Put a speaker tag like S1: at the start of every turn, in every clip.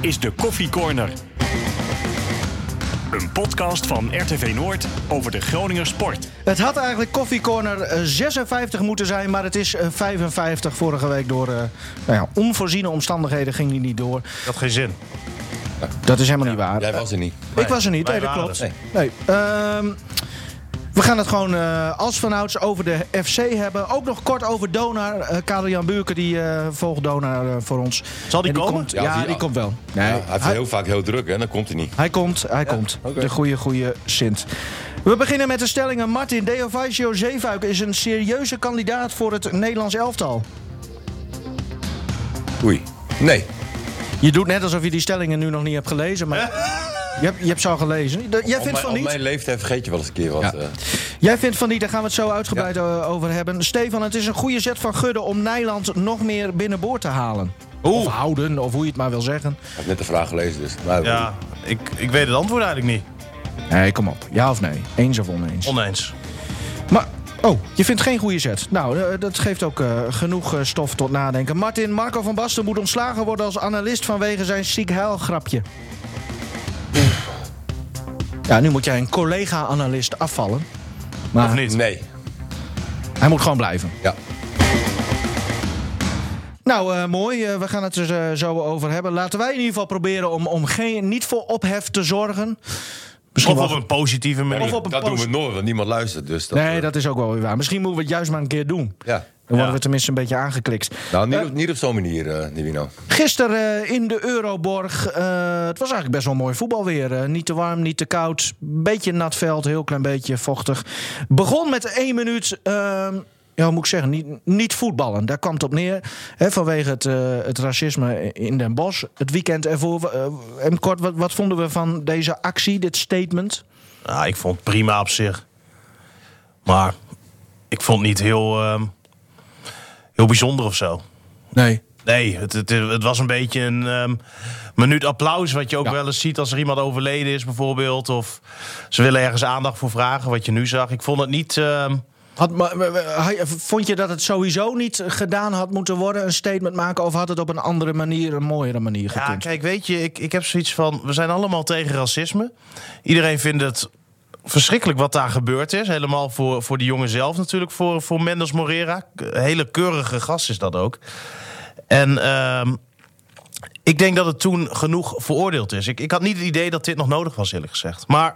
S1: is de Koffie Corner. Een podcast van RTV Noord over de Groninger sport.
S2: Het had eigenlijk Coffee Corner eh, 56 moeten zijn, maar het is eh, 55 vorige week door eh, nou ja, onvoorziene omstandigheden ging die niet door.
S3: Ik had geen zin.
S2: Dat is helemaal niet waar.
S4: Jij was er niet.
S2: ik was er niet,
S3: wij
S2: nee, dat
S3: waren
S2: klopt.
S4: er.
S2: Nee. Ehm, we gaan het gewoon eh, als vanouds over de FC hebben. Ook nog kort over Donar. Eh, Karel-Jan Buurke die eh volgt Donar eh, voor ons.
S3: Zal die
S2: En
S3: komen?
S2: komt- ja,
S4: Ja,
S2: die,
S4: die-
S2: komt wel.
S4: Ja, hij heeft heel vaak heel druk hè, dan komt hij niet.
S2: Hij komt, hij komt. De goede, goede Sint. We beginnen met de stellingen. Martin Deovaisio Zeefuik is een serieuze kandidaat voor het Nederlands elftal.
S4: Oei. Nee.
S2: Je doet net alsof je die stellingen nu nog niet hebt gelezen, maar je, hebt, je hebt ze al gelezen. De- jij
S4: Op mijn,
S2: vindt van
S4: op
S2: niet?
S4: mijn leeftijd vergeet je wel eens een keer wat. eh.
S2: Jij vindt van niet, daar gaan we het zo uitgebreid eh, over hebben. Stefan, het is een goede zet van Gudde om Nijland nog meer binnenboord te halen. Of houden, of hoe je het maar wil zeggen.
S4: ik heb net de vraag gelezen, dus. Maar,
S3: Ja, ik, ik weet het antwoord eigenlijk niet.
S2: Nee, kom op. Ja of nee? Eens of oneens?
S3: Oneens.
S2: Maar, oh, je vindt geen goede zet. Nou, eh, dat geeft ook eh, genoeg eh, stof tot nadenken. Martin, Marco van Basten moet ontslagen worden als analist vanwege zijn ziek heil grapje. Ja, nu moet jij een collega-analist afvallen. Maar
S3: Of niet?
S4: Nee.
S2: hij moet gewoon blijven.
S4: Ja.
S2: Nou, eh, mooi. Eh, we gaan het er eh, zo over hebben. Laten wij in ieder geval proberen om, om geen, niet voor ophef te zorgen. Misschien
S3: Of op
S2: wel-
S3: een positieve manier.
S2: Of op een
S4: dat
S2: post.
S4: doen we nooit, want niemand luistert. Dus dat,
S2: Nee,
S4: eh,
S2: dat is ook wel weer waar. Misschien moeten we het juist maar een keer doen. Dan
S4: Ja.
S2: worden
S3: Ja.
S2: we tenminste een beetje aangeklikt.
S4: Nou, niet,
S2: Eh,
S4: op, niet op zo'n manier, eh Nivino.
S2: Gisteren eh, in de Euroborg. eh, het was eigenlijk best wel mooi voetbal weer. eh. niet te warm, niet te koud. Beetje nat veld, heel klein beetje vochtig. Begon met één minuut. ehm, ja, hoe moet ik zeggen? Niet, niet voetballen. Daar kwam het op neer. Hè, vanwege het, eh, het racisme in Den Bosch. Het weekend ervoor. eh, en kort, wat, wat vonden we van deze actie, dit statement?
S3: Nou, ik vond het prima op zich. Maar ik vond het niet heel, ehm, heel bijzonder of zo.
S2: Nee.
S3: Nee, het, het, het was een beetje een ehm, minuut applaus. Wat je ook wel eens ziet als er iemand overleden is, bijvoorbeeld. Of ze willen ergens aandacht voor vragen, wat je nu zag. Ik vond het niet. ehm,
S2: Had, maar, maar- maar- had je- eh, vond je dat het sowieso niet gedaan had moeten worden? Een statement maken? Of had het op een andere manier, een mooiere manier gekund?
S3: Ja, kijk, weet je, ik, ik heb zoiets van... we zijn allemaal tegen racisme. Iedereen vindt het verschrikkelijk wat daar gebeurd is. Helemaal voor, voor die jongen zelf natuurlijk, voor, voor Mendes Morera. K- Hele keurige gast is dat ook. En ehm, ik denk dat het toen genoeg veroordeeld is. Ik, ik had niet het idee dat dit nog nodig was, eerlijk gezegd. Maar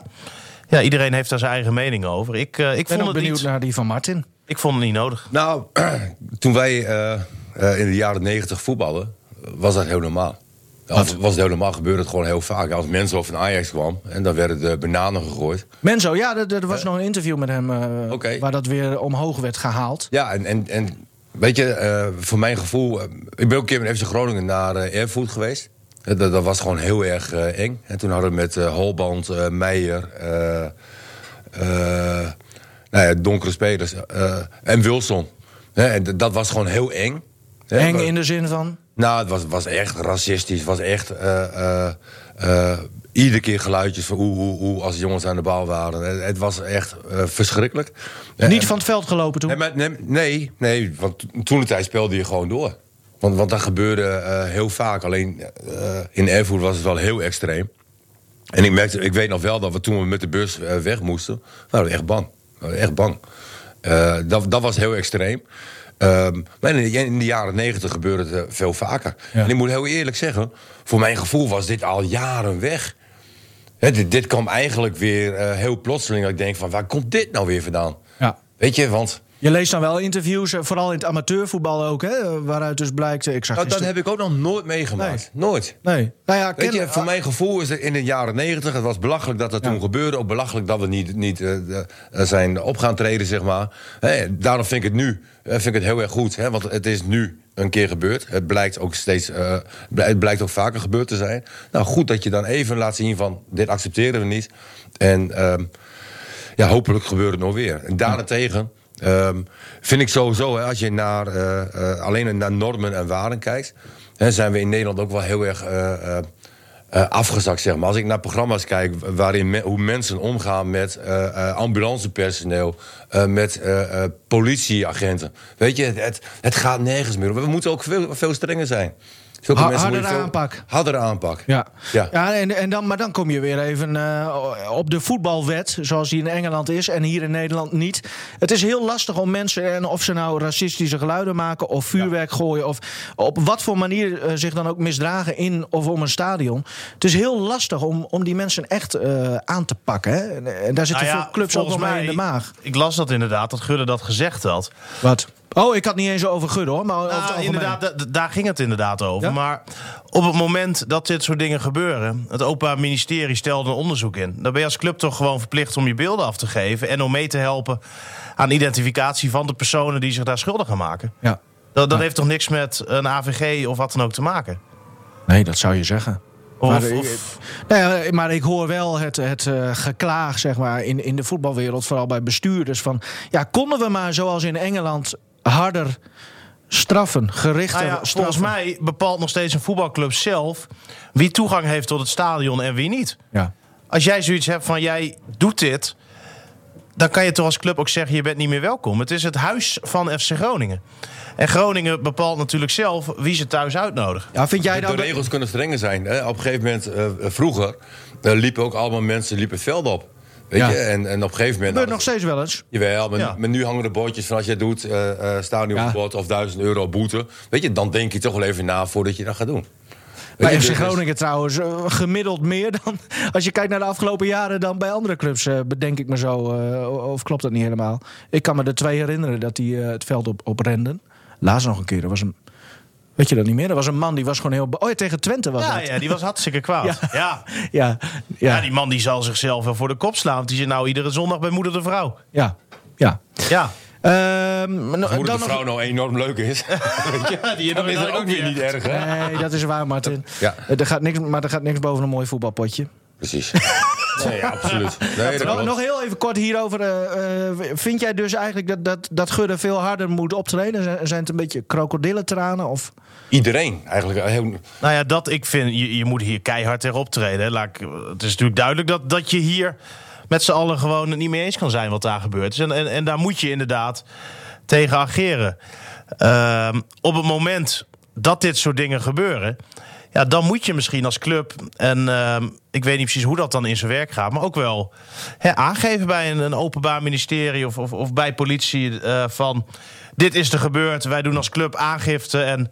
S3: ja, iedereen heeft daar zijn eigen mening over. Ik, eh, ik,
S2: Ik
S3: vond,
S2: ben ook
S3: het
S2: benieuwd
S3: niet,
S2: naar die van Martin.
S3: ik vond het niet nodig.
S4: Nou, toen wij eh, eh, in de jaren negentig voetballen, was dat heel normaal. Of was het heel normaal, gebeurde het gewoon heel vaak. Als mensen van Ajax kwam en dan werden de bananen gegooid.
S2: Menzo, ja, er, er was nog een interview met hem eh,
S4: Oké.
S2: waar dat weer omhoog werd gehaald.
S4: Ja, en, en, en weet je, eh, voor mijn gevoel... eh, ik ben ook een keer met FC Groningen naar eh, Erfurt geweest. Eh, dat, dat was gewoon heel erg eh, eng. En toen hadden we met eh, Holband, eh, Meijer... eh, eh, nou ja, donkere spelers. eh, en Wilson. Hè, en d- dat was gewoon heel eng. Hè,
S2: Eng
S4: we-
S2: in de zin van.
S4: Nou, het was, was echt racistisch. Het was echt... eh, eh, eh, iedere keer geluidjes van oeh, oeh, oeh... als de jongens aan de bal waren. Het, het was echt eh, verschrikkelijk. Eh,
S2: Niet van het veld gelopen toen.
S4: Nee, maar- nee, nee, nee, want toen de tijd speelde je gewoon door. Want, want dat gebeurde eh, heel vaak. Alleen eh, in Erfurt was het wel heel extreem. En ik, merkte, ik weet nog wel dat we toen we met de bus eh, weg moesten, waren we echt bang. We waren echt bang. Eh, dat, dat was heel extreem. Ehm, maar in de, in de jaren negentig gebeurde het eh, veel vaker. En ik moet heel eerlijk zeggen, voor mijn gevoel was dit al jaren weg. Hè, dit, dit kwam eigenlijk weer eh, heel plotseling. Dat ik denk van, waar komt dit nou weer vandaan?
S2: Ja.
S4: Weet je, want
S2: Je leest dan wel interviews, eh, vooral in het amateurvoetbal ook, hè, waaruit dus blijkt. eh, Ik zag
S4: Nou, dat
S2: gisteren-
S4: heb ik ook nog nooit meegemaakt. Nooit.
S2: Nee. Nou ja,
S4: Weet je,
S2: ken-
S4: voor mijn gevoel is het in de jaren negentig... het was belachelijk dat dat toen gebeurde. Ook belachelijk dat we niet, niet eh, eh, zijn op gaan treden, zeg maar. Hè, daarom vind ik het nu eh, vind ik het heel erg goed. Hè, want het is nu een keer gebeurd. Het blijkt ook steeds... eh, bl- het blijkt ook vaker gebeurd te zijn. Nou, goed dat je dan even laat zien van... dit accepteren we niet. En... ehm, ja, hopelijk gebeurt het nog weer. En daarentegen ehm, vind ik sowieso, hè, als je naar, eh, eh, alleen naar normen en waarden kijkt, hè, zijn we in Nederland ook wel heel erg eh, eh, eh, afgezakt. Zeg maar. Als ik naar programma's kijk waarin me- hoe mensen omgaan met eh, eh, ambulancepersoneel, eh, met eh, eh, politieagenten. Weet je, het, het, het gaat nergens meer. om. We moeten ook veel, veel strenger zijn. Zulke
S2: Ha-
S4: mensen moet je
S2: hardere
S4: veel-
S2: aanpak.
S4: Hardere aanpak.
S2: Ja, ja.
S4: Ja.
S2: en, en dan, maar dan kom je weer even eh, op de voetbalwet, zoals die in Engeland is en hier in Nederland niet. Het is heel lastig om mensen, en of ze nou racistische geluiden maken of vuurwerk gooien of op wat voor manier eh, zich dan ook misdragen in of om een stadion. Het is heel lastig om, om die mensen echt eh, aan te pakken. Hè? En, en daar zitten
S3: Nou ja,
S2: veel clubs ook
S3: volgens
S2: nog mee in de maag.
S3: Ik las dat inderdaad, dat Gudde dat gezegd had.
S2: Wat? Oh, ik had niet eens over Gudde hoor, maar over
S3: Nou,
S2: het algemeen.
S3: inderdaad, da- da- daar ging het inderdaad over.
S2: Ja?
S3: Maar op het moment dat dit soort dingen gebeuren... het Openbaar Ministerie stelde een onderzoek in. Dan ben je als club toch gewoon verplicht om je beelden af te geven... en om mee te helpen aan identificatie van de personen... die zich daar schuldig aan maken.
S2: Ja.
S3: Dat, dat heeft toch niks met een AVG of wat dan ook te maken?
S2: Nee, dat zou je zeggen.
S3: Of,
S2: Maar, eh,
S3: of-
S2: Nou ja, maar ik hoor wel het, het eh, geklaag zeg maar, in, in de voetbalwereld, vooral bij bestuurders. Van, ja, konden we maar zoals in Engeland harder straffen, gerichter
S3: nou ja,
S2: straffen?
S3: volgens mij bepaalt nog steeds een voetbalclub zelf... wie toegang heeft tot het stadion en wie niet.
S2: Ja.
S3: Als jij zoiets hebt van jij doet dit, dan kan je toch als club ook zeggen je bent niet meer welkom. Het is het huis van FC Groningen. En Groningen bepaalt natuurlijk zelf wie ze thuis uitnodigen.
S2: Ja, vind jij
S4: De,
S2: dan...
S4: regels kunnen strenger zijn. Hè? Op een gegeven moment, eh, vroeger, eh, liepen ook allemaal mensen liepen het veld op. Weet
S2: Ja.
S4: je? En, en op een gegeven moment...
S2: gebeurt nog steeds wel eens.
S4: Jawel, maar,
S3: Ja.
S4: maar nu hangen de bordjes van als jij doet eh eh stadionverbod of 1000 euro boete. Weet je, dan denk je toch wel even na voordat je dat gaat doen. Weet
S2: Bij
S4: je,
S2: FC
S4: dus-
S2: Groningen trouwens, eh, gemiddeld meer dan... Als je kijkt naar de afgelopen jaren dan bij andere clubs, eh, bedenk ik me zo. eh, of klopt dat niet helemaal? Ik kan me er twee herinneren dat die eh, het veld op, op renden. Laatst nog een keer, er was een... Weet je dat niet meer? Er was een man die was gewoon heel... bo- Oh ja, tegen Twente was
S3: Ja,
S2: dat.
S3: ja, die was hartstikke kwaad. Ja.
S2: Ja.
S3: Ja.
S2: Ja, ja,
S3: die man die zal zichzelf wel voor de kop slaan. Want die zit nou iedere zondag bij moeder de vrouw.
S2: ja. ja.
S3: Ja,
S2: Ehm, nou,
S4: Moet
S2: dan
S4: het de vrouw
S2: nog...
S4: nou enorm leuk is,
S3: die
S4: dan is dat ook weer niet erg, hè?
S2: Nee, dat is waar, Martin.
S4: Ja.
S2: Eh, Er gaat niks, maar er gaat niks boven een mooi voetbalpotje.
S4: Precies. Nee, ja, absoluut. Nee, dat
S2: Nog,
S4: klopt.
S2: nog heel even kort hierover. eh, eh, vind jij dus eigenlijk dat, dat, dat Gudde veel harder moet optreden? Zijn, zijn het een beetje krokodillentranen? Of...
S4: Iedereen eigenlijk. Heel,
S3: Nou ja, dat ik vind, je, je moet hier keihard tegen optreden. hè. Laat ik- het is natuurlijk duidelijk dat, dat je hier met z'n allen gewoon het niet mee eens kan zijn wat daar gebeurd is. En, en, en daar moet je inderdaad tegen ageren. Ehm, op het moment dat dit soort dingen gebeuren, ja, dan moet je misschien als club, en ehm, ik weet niet precies hoe dat dan in zijn werk gaat, maar ook wel hè, aangeven bij een, een openbaar ministerie of, of, of bij politie eh, van dit is er gebeurd, wij doen als club aangifte en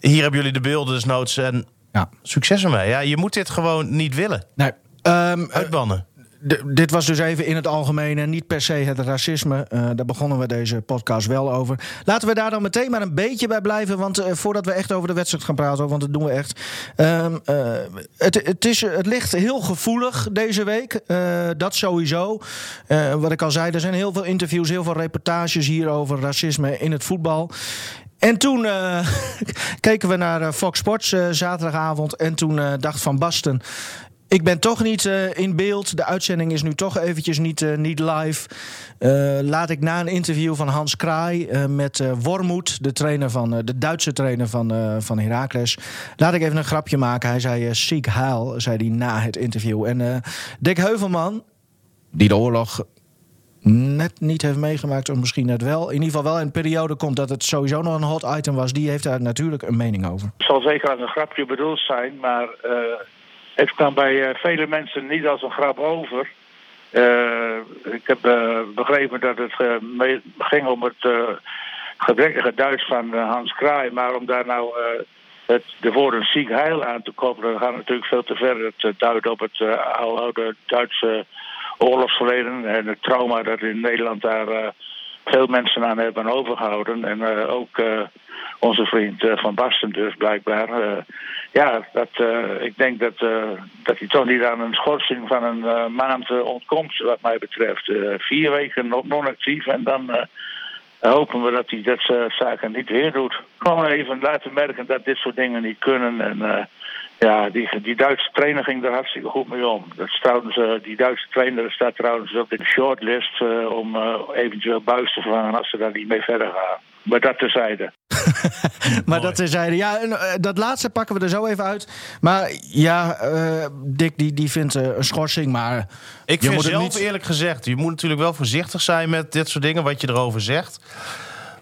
S3: hier hebben jullie de beelden dus noods en
S2: Ja.
S3: succes ermee. Ja, je moet dit gewoon niet willen,
S2: Nee. Ehm, eh,
S3: uitbannen.
S2: D- dit was dus even in het algemeen en niet per se het racisme. Eh, daar begonnen we deze podcast wel over. Laten we daar dan meteen maar een beetje bij blijven. Want eh, voordat we echt over de wedstrijd gaan praten, hoor, want dat doen we echt. Ehm, eh, het, het, is, het ligt heel gevoelig deze week. Eh, dat sowieso. Eh, wat ik al zei, er zijn heel veel interviews, heel veel reportages hier over racisme in het voetbal. En toen eh, keken we naar eh, Fox Sports eh, zaterdagavond. En toen eh, dacht Van Basten. Ik ben toch niet eh, in beeld. De uitzending is nu toch eventjes niet, eh, niet live. Eh, laat ik na een interview van Hans Kraai eh, met eh Wormoed, de, trainer van, eh, de Duitse trainer van, eh van Heracles. Laat ik even een grapje maken. Hij zei eh ziek haal, zei hij na het interview. En eh, Dick Heuvelman, die de oorlog net niet heeft meegemaakt, of misschien net wel. In ieder geval wel in een periode komt dat het sowieso nog een hot item was. Die heeft daar natuurlijk een mening over.
S5: Het zal zeker als een grapje bedoeld zijn, maar eh, het kwam bij eh, vele mensen niet als een grap over. Eh, ik heb eh, begrepen dat het eh, mee- ging om het eh, gebrekkige Duits van eh, Hans Kraai, maar om daar nou eh, het, de woorden ziek heil aan te koppelen, dat gaat natuurlijk veel te ver. Het eh, duidt op het eh, oude Duitse oorlogsverleden en het trauma dat in Nederland daar eh, veel mensen aan hebben overgehouden. En eh, ook eh, onze vriend eh, Van Basten dus blijkbaar. Eh, ja, dat, eh, ik denk dat, eh, dat hij toch niet aan een schorsing van een eh, maand eh, ontkomt wat mij betreft. Eh, vier weken nog non-actief en dan... eh, hopen we dat hij dat soort zaken niet weer doet. Gewoon even laten merken dat dit soort dingen niet kunnen. En eh, ja, die, die Duitse trainer ging daar hartstikke goed mee om. Dat is trouwens, eh, die Duitse trainer staat trouwens op de shortlist eh, om eh, eventueel buis te vervangen als ze daar niet mee verder gaan. Maar dat terzijde.
S2: Maar dat terzijde. Ja, en, eh, dat laatste pakken we er zo even uit. Maar ja, eh, Dick die, die vindt eh, een schorsing, maar... je
S3: Ik vind
S2: moet het
S3: zelf
S2: niet-
S3: eerlijk gezegd, je moet natuurlijk wel voorzichtig zijn met dit soort dingen, wat je erover zegt.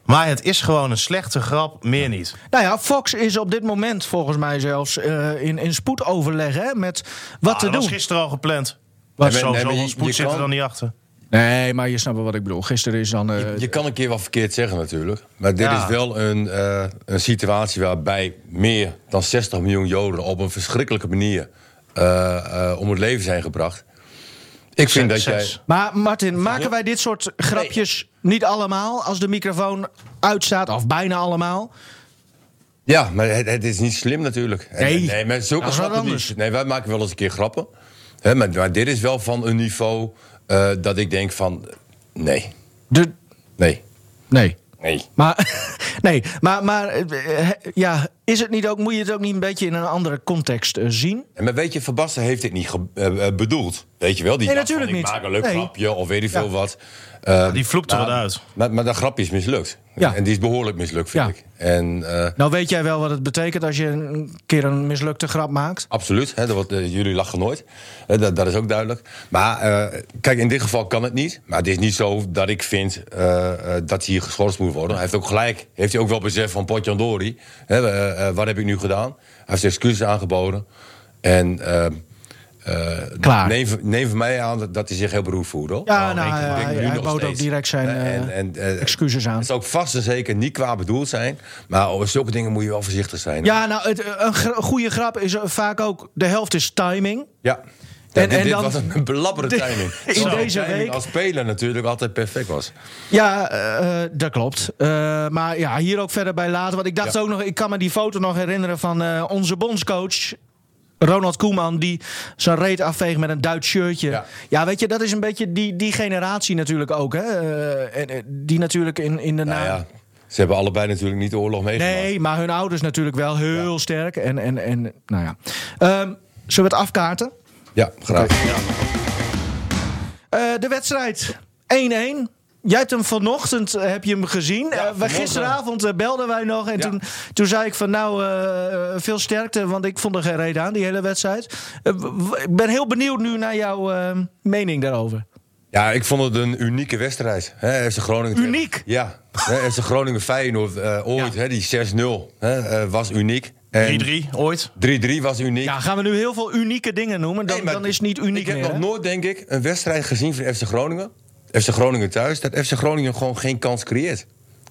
S3: Maar het is gewoon een slechte grap, meer niet.
S2: Nou ja, Fox is op dit moment volgens mij zelfs eh, in, in spoedoverleg hè, met wat
S3: Ah,
S2: te
S3: dat
S2: doen.
S3: was gisteren al gepland.
S4: Maar-
S3: zo,
S4: nee, maar
S3: zoveel
S4: je-
S3: spoed
S4: je
S3: zit er
S4: kan-
S3: dan niet achter.
S2: Nee, maar je snapt wel wat ik bedoel. Gisteren is dan. eh,
S4: Je kan een keer wat verkeerd zeggen natuurlijk. Maar dit
S3: Ja.
S4: is wel een, eh, een situatie waarbij meer dan 60 miljoen Joden op een verschrikkelijke manier eh, eh, om het leven zijn gebracht. Ik vind dat jij.
S3: Zes.
S2: Maar Martin, maken wij dit soort grapjes niet allemaal als de microfoon uitstaat? Of bijna allemaal?
S4: Ja, maar het, het is niet slim natuurlijk. En-
S2: Nee,
S4: nee maar zulke
S2: dat is wat
S4: grappen
S2: anders.
S4: niet. Nee, wij maken wel eens een keer grappen. Hè, maar, maar dit is wel van een niveau eh, dat ik denk van... Nee,
S2: De...
S4: nee,
S2: Nee.
S4: nee.
S2: Maar, nee, maar, maar eh, eh, ja, is het niet ook, moet je het ook niet een beetje in een andere context eh, zien?
S4: En maar weet je, Van Basten heeft dit niet ge- eh, eh, bedoeld. Weet je wel? Die
S2: Nee,
S4: dacht van,
S2: natuurlijk
S4: Ik
S2: niet.
S4: maak een leuk
S2: Nee.
S4: grapje of weet ik veel
S2: Ja.
S4: wat.
S3: Die vloept er
S4: Maar-
S3: wat uit. Ah,
S4: Maar, maar dat grapje is mislukt.
S2: Ja.
S4: En die is behoorlijk mislukt, vind
S2: Ja.
S4: ik. En eh,
S2: Nou weet jij wel wat het betekent als je een keer een mislukte grap maakt?
S4: absoluut, hè, dat wordt, eh, jullie lachen nooit. Hè, dat, dat is ook duidelijk. Maar eh, kijk, in dit geval kan het niet. Maar het is niet zo dat ik vind eh, eh, dat hij hier geschorst moet worden. Hij heeft ook gelijk, heeft hij ook wel besef van Potjandori. Hè, eh, eh, wat heb ik nu gedaan? Hij heeft excuses aangeboden. En... eh, eh,
S2: Klaar.
S4: Neem, neem van mij aan dat, dat hij zich heel beroerd voelde. hoor.
S2: Ja,
S3: Oh,
S2: nou,
S3: ik
S2: hij,
S4: Ik denk
S2: hij,
S4: nu nog
S2: bood ook
S4: steeds.
S2: direct zijn
S4: Eh, en-
S2: eh,
S4: en, eh,
S2: excuses aan.
S4: Het zou ook vast en zeker niet qua bedoeld zijn. Maar over zulke dingen moet je wel voorzichtig zijn.
S2: Ja, nou, het, eh, een gra- goede grap is eh, vaak ook... de helft is timing.
S4: ja. Ja,
S2: En-
S4: dit,
S2: en
S4: dit
S2: dan-
S4: was een belabberde
S2: Dit-
S4: timing.
S2: in
S4: Terwijl
S2: deze
S4: timing
S2: week-
S4: als speler natuurlijk altijd perfect was.
S2: Ja, eh, eh, dat klopt. Eh, maar ja, hier ook verder bij laten. Want ik dacht
S4: Ja.
S2: ook nog, ik kan me die foto nog herinneren van eh, onze bondscoach. Ronald Koeman, die zijn reet afveegt met een Duits shirtje. Ja,
S4: Ja.
S2: weet je, dat is een beetje die, die generatie natuurlijk ook. Hè? Eh, en, eh, die natuurlijk in, in de
S4: Nou
S2: naam-
S4: ja, ze hebben allebei natuurlijk niet de oorlog meegemaakt.
S2: Nee, maar hun ouders natuurlijk wel heel sterk. En, en, en nou ja. Ehm, zullen we het afkaarten?
S4: Ja, graag.
S2: Eh, de wedstrijd 1-1. Jij hebt hem vanochtend eh, heb je hem gezien. Eh, we,
S4: vanmorgen.
S2: gisteravond eh, belden wij nog en
S4: Ja.
S2: toen, toen zei ik van nou eh, veel sterkte, want ik vond er geen reden aan die hele wedstrijd. Eh, w- w- ik ben heel benieuwd nu naar jouw eh, mening daarover.
S4: Ja, ik vond het een unieke wedstrijd. Hè, FC Groningen tegen-
S2: Uniek?
S4: Ja. Hè, FC Groningen Feyenoord eh, ooit, hè, die 6-0 hè, eh, was uniek. En
S3: 3-3, ooit.
S4: 3-3 was uniek.
S2: Ja, gaan we nu heel veel unieke dingen noemen, dan,
S4: Nee, maar
S2: dan is het niet uniek
S4: Ik heb
S2: meer. hè?
S4: nog nooit, denk ik, een wedstrijd gezien van FC Groningen. FC Groningen thuis, dat FC Groningen gewoon geen kans creëert.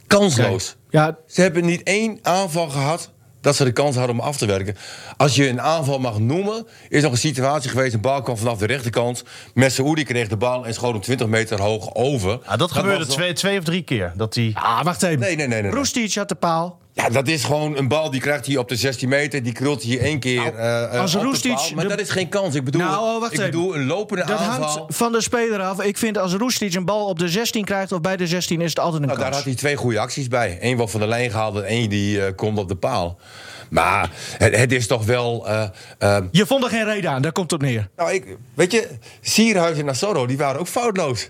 S4: Kansloos.
S2: Ja,
S4: Ze hebben niet één aanval gehad dat ze de kans hadden om af te werken. Als je een aanval mag noemen, is nog een situatie geweest... een bal kwam vanaf de rechterkant. Messeoudi kreeg de bal en schoot hem 20 meter hoog over.
S3: Ah, dat gebeurde
S4: was wel-
S3: twee, twee of drie keer. Dat die...
S2: ah, wacht even.
S4: Nee, nee, nee, nee, nee.
S2: Roestic had de paal.
S4: Ja, dat is gewoon een bal die krijgt hij op de 16 meter. Die krult hij één keer eh, eh,
S2: Nou, als
S4: op de
S2: Roestic
S4: paal. Maar
S2: de-
S4: dat is geen kans. Ik bedoel,
S2: Nou, oh, wacht
S4: ik
S2: even.
S4: bedoel een lopende
S2: Dat
S4: aanval.
S2: hangt van de speler af. Ik vind als Roestic een bal op de 16 krijgt of bij de 16 is het altijd een
S4: Nou, daar
S2: kans.
S4: had hij twee goede acties bij. Eén wat van de lijn gehaald en één die eh, komt op de paal. Maar het, het is toch wel... eh, eh,
S2: Je vond er geen reden aan, daar komt het op neer.
S4: nou, ik, weet je, Sierhuis en Nassoro, die waren ook foutloos.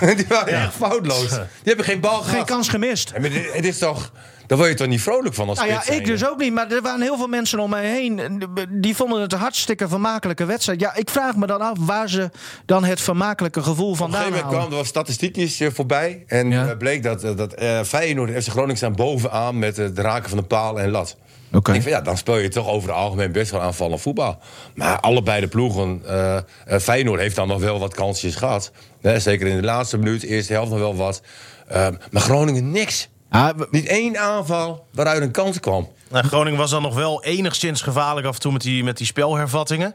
S4: die waren echt foutloos. Die hebben geen bal
S2: Geen
S4: gehad.
S2: kans gemist.
S4: Ja, maar dit- het is toch... Daar word je toch niet vrolijk van als
S2: Nou ja,
S4: spits
S2: ik
S4: zijnde?
S2: dus ook niet. Maar er waren heel veel mensen om mij heen. en Die vonden het een hartstikke vermakelijke wedstrijd. Ja, ik vraag me dan af waar ze dan het vermakelijke gevoel
S4: Op een
S2: vandaan
S4: gegeven moment
S2: halen.
S4: kwamen er wat statistiekjes eh, voorbij. En
S2: Ja.
S4: eh, bleek dat, eh, dat eh, Feyenoord en FC Groningen staan bovenaan... met eh, het raken van de paal en lat.
S2: Oké.
S4: Ik vind, ja, dan speel je toch over het algemeen best wel aanvallend voetbal. Maar allebei de ploegen... eh, eh, Feyenoord heeft dan nog wel wat kansjes gehad. Hè, zeker in de laatste minuut, eerste helft nog wel wat. Eh, maar Groningen niks.
S2: Ah, we-
S4: Niet één aanval waaruit een kans kwam.
S3: Nou, Groningen was dan nog wel enigszins gevaarlijk af en toe met die, met die spelhervattingen.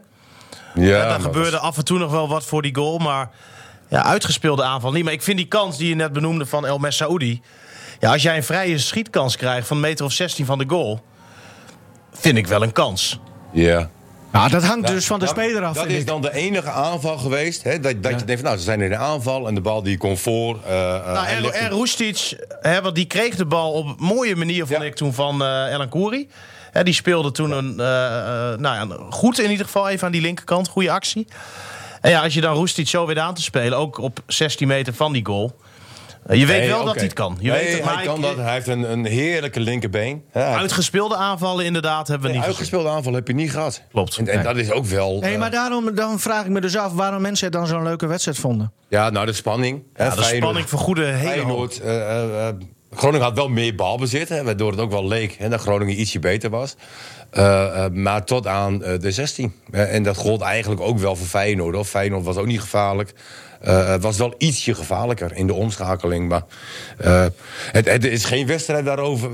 S4: Ja,
S3: En daar
S4: maar
S3: gebeurde
S4: dat-
S3: af en toe nog wel wat voor die goal. Maar ja, uitgespeelde aanval niet. Maar ik vind die kans die je net benoemde van El Messaoudi. Ja, als jij een vrije schietkans krijgt van een meter of 16 van de goal. Vind ik wel een kans.
S4: Ja.
S2: nou, dat hangt dus van de
S4: Dat-
S2: speler af.
S4: Dat
S2: vind
S4: is
S2: ik.
S4: dan de enige aanval geweest. Hè, dat dat je denkt, van, nou, ze zijn in de aanval en de bal die komt voor. eh, eh,
S3: Nou,
S4: hij
S3: en,
S4: legt hem-
S3: en Roestic, hè, want die kreeg de bal op een mooie manier, vond
S4: Ja.
S3: ik toen, van eh Elan Kouri. Hè, die speelde toen een, eh, eh, nou ja, een- goed in ieder geval even aan die linkerkant, goede actie. En ja, als je dan Roestic zo weer aan te spelen, ook op 16 meter van die goal. eh, je weet
S4: Nee,
S3: wel dat
S4: oké.
S3: hij het kan. Je
S4: Nee,
S3: weet het, maar
S4: hij kan
S3: ik-
S4: dat. Hij heeft een, een heerlijke linkerbeen. Ja, hij-
S3: Uitgespeelde aanvallen inderdaad hebben we niet gezien.
S4: uitgespeelde aanval heb je niet gehad.
S3: Klopt.
S4: En, en
S3: Nee.
S4: dat is ook wel...
S2: Nee,
S4: eh,
S2: maar daarom dan vraag ik me dus af waarom mensen het dan zo'n leuke wedstrijd vonden.
S4: ja, nou, de spanning. hè,
S3: Ja, de
S4: Feyenoord-
S3: spanning vergoedde heel hoog.
S4: Feyenoord, eh, eh, eh, Groningen had wel meer balbezit, hè, waardoor het ook wel leek hè, dat Groningen ietsje beter was. Eh, eh, maar tot aan eh, de 16. Eh, en dat gold eigenlijk ook wel voor Feyenoord. Hoor. Feyenoord was ook niet gevaarlijk. Eh, Het was wel ietsje gevaarlijker in de omschakeling. Maar eh, het, het is geen wedstrijd waarover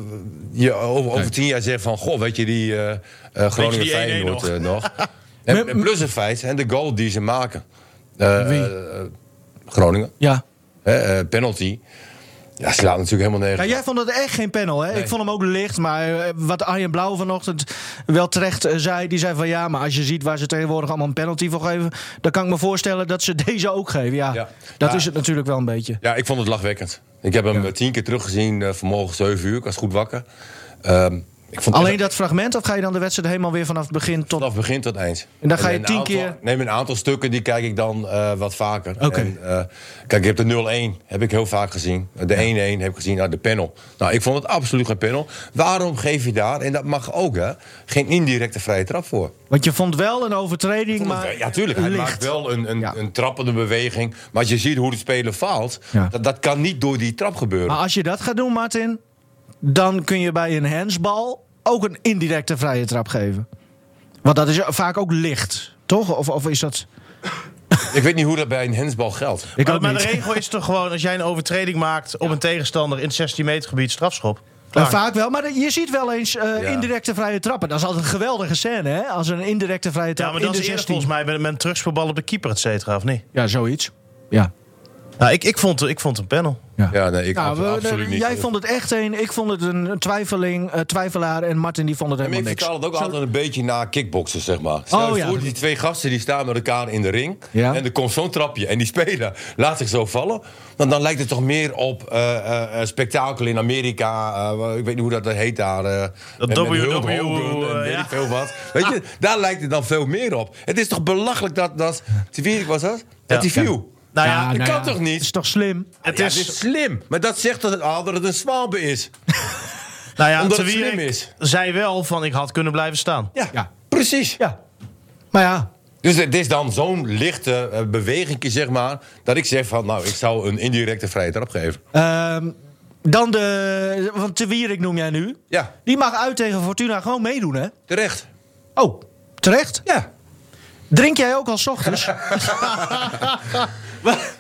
S4: je over, over tien jaar zegt van... Goh, weet je die eh, eh, Groningen
S3: die 1-1
S4: Feyenoord
S3: nog?
S4: eh, nog? en, en plus het feit, en de goal die ze maken. Eh,
S2: Wie?
S4: eh, Groningen,
S2: Ja.
S4: hè, eh, penalty. Ja, slaat natuurlijk helemaal nergens.
S2: Ja, jij vond het echt geen panel, hè? Ik vond hem ook licht, maar eh, wat Arjen Blauw vanochtend wel terecht eh, zei... die zei van ja, maar als je ziet waar ze tegenwoordig allemaal een penalty voor geven... dan kan ik me voorstellen dat ze deze ook geven. Ja,
S4: Ja.
S2: dat
S4: Ja.
S2: is het natuurlijk wel een beetje.
S4: Ja, ik vond het lachwekkend. Ik heb hem eh, tien keer teruggezien eh, vanmorgen 7 uur. Ik was goed wakker. Ehm, ik vond
S2: Alleen
S4: echt-
S2: dat fragment, of ga je dan de wedstrijd helemaal weer vanaf het begin tot...
S4: Vanaf begin tot eind.
S2: En dan ga je
S4: een
S2: tien
S4: aantal-
S2: keer-
S4: Neem een aantal stukken, die kijk ik dan eh, wat vaker.
S2: Oké.
S4: En, eh, kijk, je hebt de 0-1, heb ik heel vaak gezien. De 1-1 heb ik gezien, nou, de panel. Nou, ik vond het absoluut geen panel. Waarom geef je daar, en dat mag ook, hè, geen indirecte vrije trap voor?
S2: Want je vond wel een overtreding,
S4: Vond het
S2: maar
S4: wel- ja, tuurlijk. Hij
S2: licht.
S4: maakt wel een, een,
S2: Ja.
S4: een trappende beweging. Maar als je ziet hoe de speler faalt,
S2: Ja. Ah.
S4: dat, dat kan niet door die trap gebeuren.
S2: Maar als je dat gaat doen, Martin, dan kun je bij een handsbal ook een indirecte vrije trap geven. Want dat is vaak ook licht, toch? Of, of is dat...
S4: Ik weet niet hoe dat bij een hensbal geldt.
S2: Ik
S3: Maar,
S2: ook
S3: maar de
S2: niet.
S3: regel is toch gewoon als jij een overtreding maakt op een tegenstander in het 16 meter gebied strafschop.
S2: Nou,
S3: Klaar.
S2: vaak wel, maar je ziet wel eens eh,
S4: Ja.
S2: indirecte vrije trappen. Dat is altijd een geweldige scène, hè? Als een indirecte vrije trap
S3: Ja, maar
S2: in
S3: dat
S2: de
S3: is
S2: 16.
S3: eerder volgens mij met, met een terugspeelbal op de keeper, et cetera, of niet?
S2: Ja, zoiets. Ja.
S3: Nou, ik, ik, vond, ik vond een panel.
S4: Ja, nee, ik
S2: Nou,
S4: ab-
S2: we-
S4: absoluut
S2: de-
S4: niet.
S2: jij vond het echt een, ik vond het een twijfeling, eh, twijfelaar en Martin die vond het
S4: Ja, maar
S2: helemaal
S4: ik
S2: niks.
S4: vertaal het ook altijd een beetje naar kickboksen, zeg maar. Stel
S2: Oh,
S4: je
S2: ja.
S4: voor, die twee gasten die staan met elkaar in de ring.
S2: Ja.
S4: En er komt zo'n trapje en die speler laat zich zo vallen. Want dan lijkt het toch meer op eh, eh, eh, spektakel in Amerika. eh, ik weet niet hoe dat heet daar. eh,
S3: Dat
S4: met- met
S3: WWE,
S4: Hulk Hogan en
S3: eh,
S4: weet
S3: ja. Ah.
S4: ik veel wat. Weet je, daar lijkt het dan veel meer op. Het is toch belachelijk dat, dat wie was dat? Dat die view.
S3: Nou ja,
S4: dat
S2: nou
S4: kan
S2: ja,
S4: toch
S2: Het
S4: niet?
S2: is toch slim?
S3: het
S4: Ja,
S3: is,
S4: dit is slim. Maar dat zegt dat het, ah, dat het een zwalbe is.
S3: nou ja,
S4: omdat
S3: Te
S4: het slim
S3: Wierik
S4: is.
S3: zei wel van ik had kunnen blijven staan.
S4: Ja,
S2: Ja.
S4: precies.
S2: Ja. Maar ja,
S4: Dus het is dan zo'n lichte eh, beweging, zeg maar, dat ik zeg van, nou, ik zou een indirecte vrije trap geven.
S2: ehm, dan de... Want Te Wierik noem jij nu.
S4: Ja,
S2: Die mag uit tegen Fortuna gewoon meedoen, hè?
S4: terecht.
S2: Oh, terecht?
S4: Ja.
S2: Drink jij ook al 's ochtends?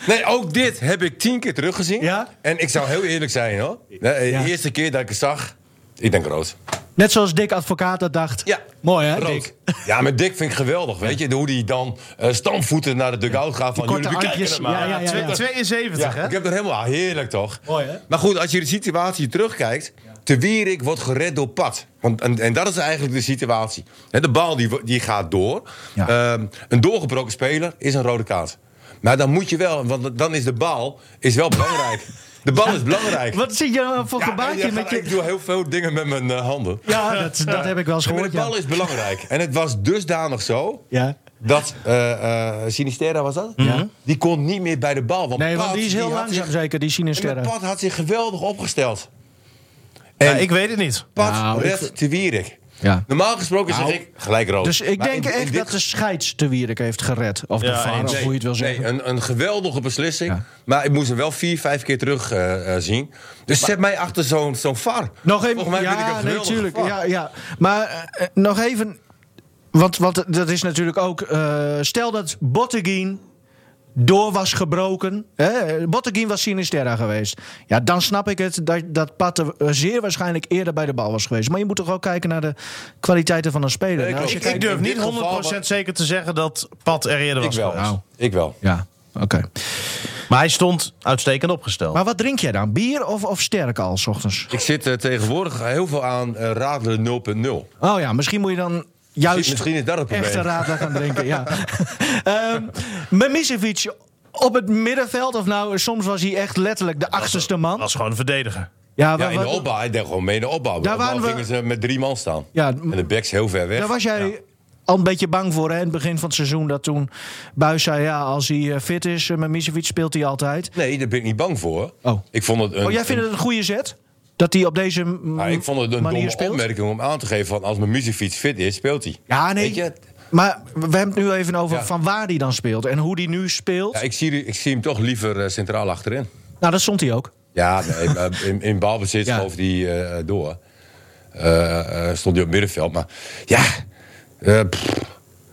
S4: Nee, ook dit heb ik tien keer teruggezien.
S2: Ja?
S4: En ik zou heel eerlijk zijn, hoor. De
S2: Ja.
S4: eerste keer dat ik het zag, ik denk rood.
S2: Net zoals Dick Advocaat dat dacht.
S4: Ja.
S2: Mooi, hè,
S4: rood.
S2: Dick?
S4: Ja, maar Dick vind ik geweldig, weet je. Hoe die dan eh stampvoeten naar de dugout gaat van,
S2: korte
S4: jullie bekijken
S2: armpjes.
S4: het maar.
S2: Ja, ja, ja,
S3: Twe-
S2: ja.
S3: 72,
S4: Ja,
S3: hè?
S4: ik heb er helemaal ah, heerlijk toch?
S2: Mooi, hè?
S4: Maar goed, als je de situatie terugkijkt. Te Wierik wordt gered door Pat. Want, en, en dat is eigenlijk de situatie. Hè, de bal die, wo- die gaat door.
S2: Ja.
S4: Ehm, een doorgebroken speler is een rode kaart. Maar dan moet je wel, want dan is de bal is wel belangrijk. De bal is belangrijk.
S2: Wat zit je nou voor
S4: Ja,
S2: gebaartje
S4: ja,
S2: met
S4: Ik
S2: je...
S4: doe heel veel dingen met mijn eh, handen.
S2: Ja, dat, dat heb ik wel eens
S4: Maar
S2: gehoord,
S4: de
S2: ja.
S4: bal is belangrijk. En het was dusdanig zo.
S2: Ja.
S4: Dat eh, eh, Sinistera was dat?
S2: Ja.
S4: Die kon niet meer bij de bal. Want
S2: Nee, want
S4: Pat,
S2: die is heel
S4: had
S2: langzaam,
S4: zich-
S2: zeker, die
S4: en
S2: Sinisterra.
S4: Pat had zich geweldig opgesteld.
S3: Ja,
S4: En-
S3: ik weet het niet.
S4: Pat
S2: Nou, ik
S4: redt te Wierik.
S2: Ja.
S4: Normaal gesproken
S2: Nou,
S4: zeg ik gelijk rood.
S2: Dus ik
S4: Maar
S2: denk
S4: in- in
S2: echt
S4: dit
S2: dat de scheids te Wierik heeft gered. Of de
S3: Ja,
S2: VAR,
S3: en-
S2: of
S4: Nee,
S2: hoe je het wil
S4: nee,
S2: zeggen.
S4: een, een geweldige beslissing.
S2: Ja.
S4: Maar ik moest hem wel vier, vijf keer terug eh, eh, zien. Dus zet mij achter zo'n zo'n VAR.
S2: Nog even,
S4: Volgens mij
S2: ja,
S4: ben ik een
S2: nee,
S4: geweldige
S2: tuurlijk.
S4: VAR.
S2: Ja, ja. Maar eh, eh, nog even, want, want dat is natuurlijk ook... eh, stel dat Botteguin door was gebroken. Hè? Botteguin was Sinisterra geweest. Ja, dan snap ik het dat, dat Pat er, eh, zeer waarschijnlijk eerder bij de bal was geweest. Maar je moet toch ook kijken naar de kwaliteiten van een speler.
S4: Nee,
S2: Nou, als je
S4: klopt.
S2: kijkt-
S3: Ik
S4: in
S3: durf
S4: dit
S3: niet 100%
S4: geval wat-
S3: zeker te zeggen dat Pat er eerder
S4: Ik
S3: was.
S4: wel.
S3: geweest.
S2: Nou.
S4: Ik wel.
S2: ja, oké.
S3: Maar hij stond uitstekend opgesteld.
S2: Maar wat drink jij dan? Bier of, of sterk al, s ochtends?
S4: Ik zit eh, tegenwoordig heel veel aan eh radelen 0.0.
S2: Oh ja, misschien moet je dan juist
S4: Misschien is dat het probleem.
S2: echte radler gaan drinken. ja. Ehm Memisevic op het middenveld, of nou, soms was hij echt letterlijk de achterste man.
S3: Dat is gewoon een verdediger.
S2: ja,
S4: Ja,
S2: wa-
S4: in de
S2: wa-
S4: opbouw. Ik denk gewoon mee in de opbouw.
S2: Daar
S4: Daar waren
S2: waren we-
S4: gingen ze met drie man staan.
S2: Ja,
S4: en de backs heel ver weg.
S2: daar was jij al een beetje bang voor, hè, in het begin van het seizoen. Dat toen Buis zei, ja, als hij eh, fit is, eh, Memisevic speelt hij altijd.
S4: Nee, daar ben ik niet bang voor.
S2: Oh.
S4: Ik vond het een,
S2: Oh, jij vindt het een goede zet? Dat hij op deze m-
S4: Nou, ik vond het een
S2: manier
S4: domme
S2: speelt?
S4: opmerking om aan te geven van als mijn muziekfiets fit is, speelt hij.
S2: Ja, nee.
S4: Weet je?
S2: Maar we hebben het nu even over
S4: Ja.
S2: van waar hij dan speelt en hoe hij nu speelt.
S4: Ja, ik, zie, ik zie hem toch liever eh, centraal achterin.
S2: Nou, dat stond hij ook.
S4: Ja, nee, maar in, in balbezit
S2: Ja.
S4: schoof die eh, door. Eh, eh, stond hij op middenveld. Maar ja, eh, pff,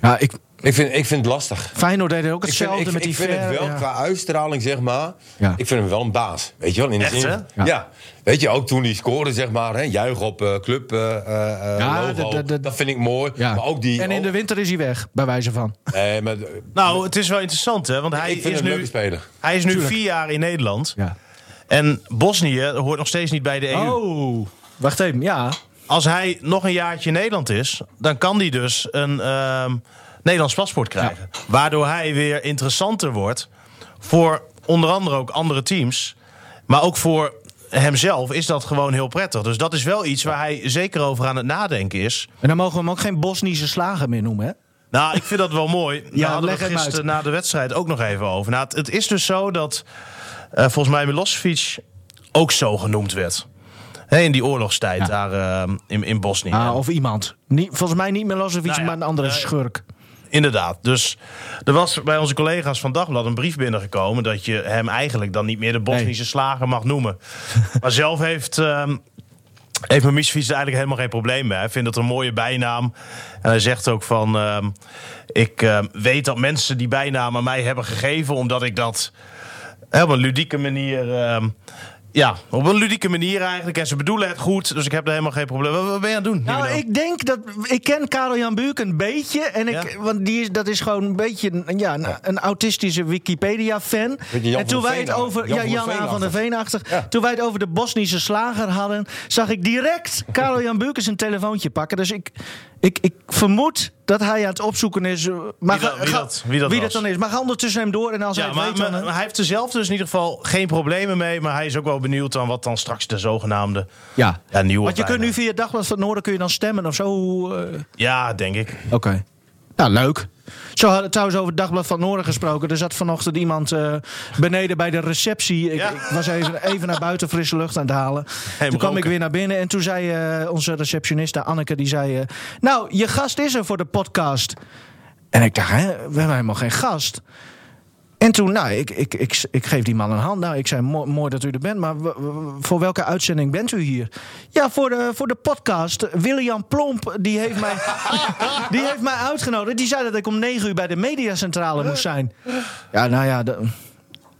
S2: Ja, ik,
S4: ik, vind, ik vind het lastig.
S2: Feyenoord deed ook
S4: Ik vind,
S2: hetzelfde
S4: ik,
S2: met die
S4: ik vind het
S2: Ver,
S4: wel
S2: ja.
S4: qua uitstraling, zeg maar.
S2: Ja.
S4: Ik vind hem wel een baas. Weet je wel? In de
S3: Echt,
S4: zin,
S3: hè?
S4: Ja. Weet je, ook toen hij scoorde, zeg maar. Hè, juich op eh, club, eh, eh,
S2: Ja,
S4: logo.
S2: dat- dat- dat-
S4: dat vind ik mooi.
S2: Ja.
S4: Maar ook die...
S2: en in de
S4: ook-
S2: winter is hij weg, bij wijze van.
S4: Nee, maar,
S3: Nou, het is wel interessant, hè? Want hij
S4: ik vind
S3: is
S4: hem een
S3: nu,
S4: leuke speler.
S3: hij is nu vier jaar in Nederland.
S2: Ja.
S3: En Bosnië hoort nog steeds niet bij de EU.
S2: Oh, wacht even, ja.
S3: Als hij nog een jaartje in Nederland is, dan kan hij dus een ehm, Nederlands paspoort krijgen. Waardoor hij weer interessanter wordt voor onder andere ook andere teams. Maar ook voor hemzelf is dat gewoon heel prettig. Dus dat is wel iets waar hij zeker over aan het nadenken is.
S2: En dan mogen we hem ook geen Bosnische slager meer noemen, hè?
S3: Nou, ik vind dat wel mooi. Daar
S2: Ja,
S3: hadden we
S2: leg
S3: het
S2: hem
S3: gisteren
S2: uit.
S3: na de wedstrijd ook nog even over. Nou, het, het is dus zo dat eh, volgens mij Milosevic ook zo genoemd werd. Hè, in die oorlogstijd daar eh, in, in Bosnië.
S2: Ah, of iemand. Niet, volgens mij niet Milosevic,
S3: Nou ja,
S2: maar een andere
S3: eh,
S2: schurk.
S3: Inderdaad. Dus er was bij onze collega's van Dagblad een brief binnengekomen... dat je hem eigenlijk dan niet meer de Bosnische
S2: Nee.
S3: slager mag noemen. maar zelf heeft... ehm heeft Mimicevic er eigenlijk helemaal geen probleem mee. Hij vindt het een mooie bijnaam. En hij zegt ook van... ehm, ik ehm, weet dat mensen die bijnaam aan mij hebben gegeven... omdat ik dat hè, op een ludieke manier... ehm, ja, op een ludieke manier eigenlijk. En ze bedoelen het goed, dus ik heb er helemaal geen probleem. Wat, wat ben je aan het doen?
S2: Nou,
S3: Nino?
S2: ik denk dat. Ik ken Karel Jan Buurk een beetje. En ik,
S3: Ja.
S2: Want die is, dat is gewoon een beetje een- ja, een, een autistische Wikipedia-fan.
S4: Beetje Jan
S2: En
S4: van
S2: toen
S4: der
S2: wij het
S4: Veen-achtig.
S2: over.
S4: Jan
S2: ja,
S4: van der
S2: Jan A. van der
S4: Veen-achtig.
S2: Veenachtig.
S4: Ja.
S2: Toen wij het over de Bosnische slager hadden. zag ik direct Karel Jan Buurk zijn telefoontje pakken. Dus ik, ik, ik vermoed dat hij aan het opzoeken is. eh, Maar
S3: Wie dat-
S2: ga-
S3: wie
S2: ga-
S3: dat- wie dat was.
S2: dan is. Maar ga ondertussen hem door. En als hij
S3: Ja,
S2: het
S3: maar,
S2: weet,
S3: maar-
S2: dan, eh,
S3: maar hij heeft er zelf dus in ieder geval geen problemen mee. Maar hij is ook wel benieuwd aan wat dan straks de zogenaamde
S2: ja.
S3: ja, nieuwe
S2: Want je kunt nu
S3: bijnaam-
S2: via het Dagblad van het Noorden kun je dan stemmen of zo. hoe, eh,
S3: Ah, Ja, denk ik.
S2: Oké. Nou, leuk. Zo hadden we trouwens over het Dagblad van Noorden gesproken. Er zat vanochtend iemand eh, beneden bij de receptie. Ik,
S3: Ja.
S2: ik was even, even naar buiten frisse lucht aan het halen. toen kwam ik
S3: roken.
S2: weer naar binnen en toen zei eh, onze receptioniste Anneke... die zei, eh, nou, je gast is er voor de podcast. En ik dacht, hè, we hebben helemaal geen gast. En toen, nou, ik, ik, ik, ik geef die man een hand. Nou, ik zei, "Mo- mooi dat u er bent, maar w- w- voor welke uitzending bent u hier? Ja, voor de, voor de podcast. William Plomp, die heeft, mij, die heeft mij uitgenodigd. Die zei dat ik om negen uur bij de mediacentrale moest zijn. Ja, nou ja, de-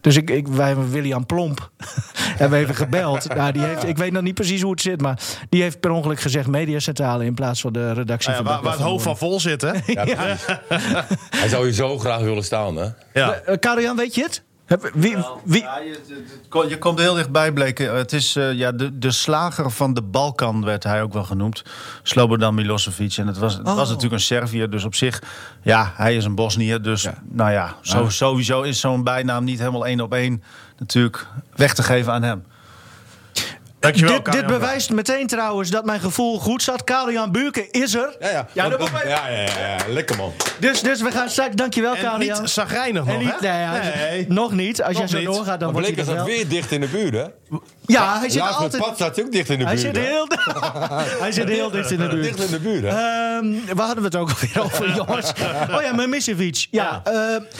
S2: dus ik, ik, wij hebben William Plomp hebben even gebeld. Nou, die heeft, ik weet nog niet precies hoe het zit, maar die heeft per ongeluk gezegd mediacentrale in plaats van de redactie
S3: Nou ja,
S2: van
S3: waar,
S2: Dagblad
S3: waar het
S2: van
S3: hoofd van vol zit, hè?
S4: Ja, precies. Hij zou je zo graag willen staan, hè?
S3: Ja.
S2: Eh, Karel-Jan, weet je het? Heb- Wie, wie,
S6: Ja, je, het- het ko- je komt er heel dichtbij, bleken. Het is eh, ja, de, de slager van de Balkan, werd hij ook wel genoemd. Slobodan Milosevic. En het was,
S2: Oh.
S6: het was natuurlijk een Serviër, dus op zich... Ja, hij is een Bosnier, dus nou ja... Zo, sowieso is zo'n bijnaam niet helemaal één op één... natuurlijk weg te geven aan hem.
S3: Dankjewel,
S2: dit, dit
S3: Karel-Jan.
S2: bewijst meteen trouwens dat mijn gevoel goed zat. Karel-Jan Buurken is er.
S4: Ja, ja.
S2: dat
S4: Want-
S2: moet mij-
S4: ja, ja, ja, ja. Lekker, man.
S2: Dus, dus we gaan straks... Dankjewel,
S3: En
S2: Karel-Jan.
S3: niet zagrijnig nog,
S2: En niet-
S3: hè?
S2: nee, ja,
S3: Nee.
S2: Nog niet. Als jij
S3: Nog
S2: zo
S3: niet.
S2: doorgaat, dan
S4: Maar
S2: wordt hij
S4: bleek
S2: dat
S4: dat
S2: wel.
S4: weer dicht in de buurt, hè?
S2: Ja, hij zit er
S4: Laatst met
S2: altijd...
S4: Pat staat hij ook dicht in de
S2: Hij
S4: buurt.
S2: zit
S4: hè?
S2: heel, hij zit heel dicht in de buurt.
S4: Dicht in de buurt, hè?
S2: Ehm, waar hadden we het ook alweer over, jongens? Oh ja, Mimicevic. Ja, eh,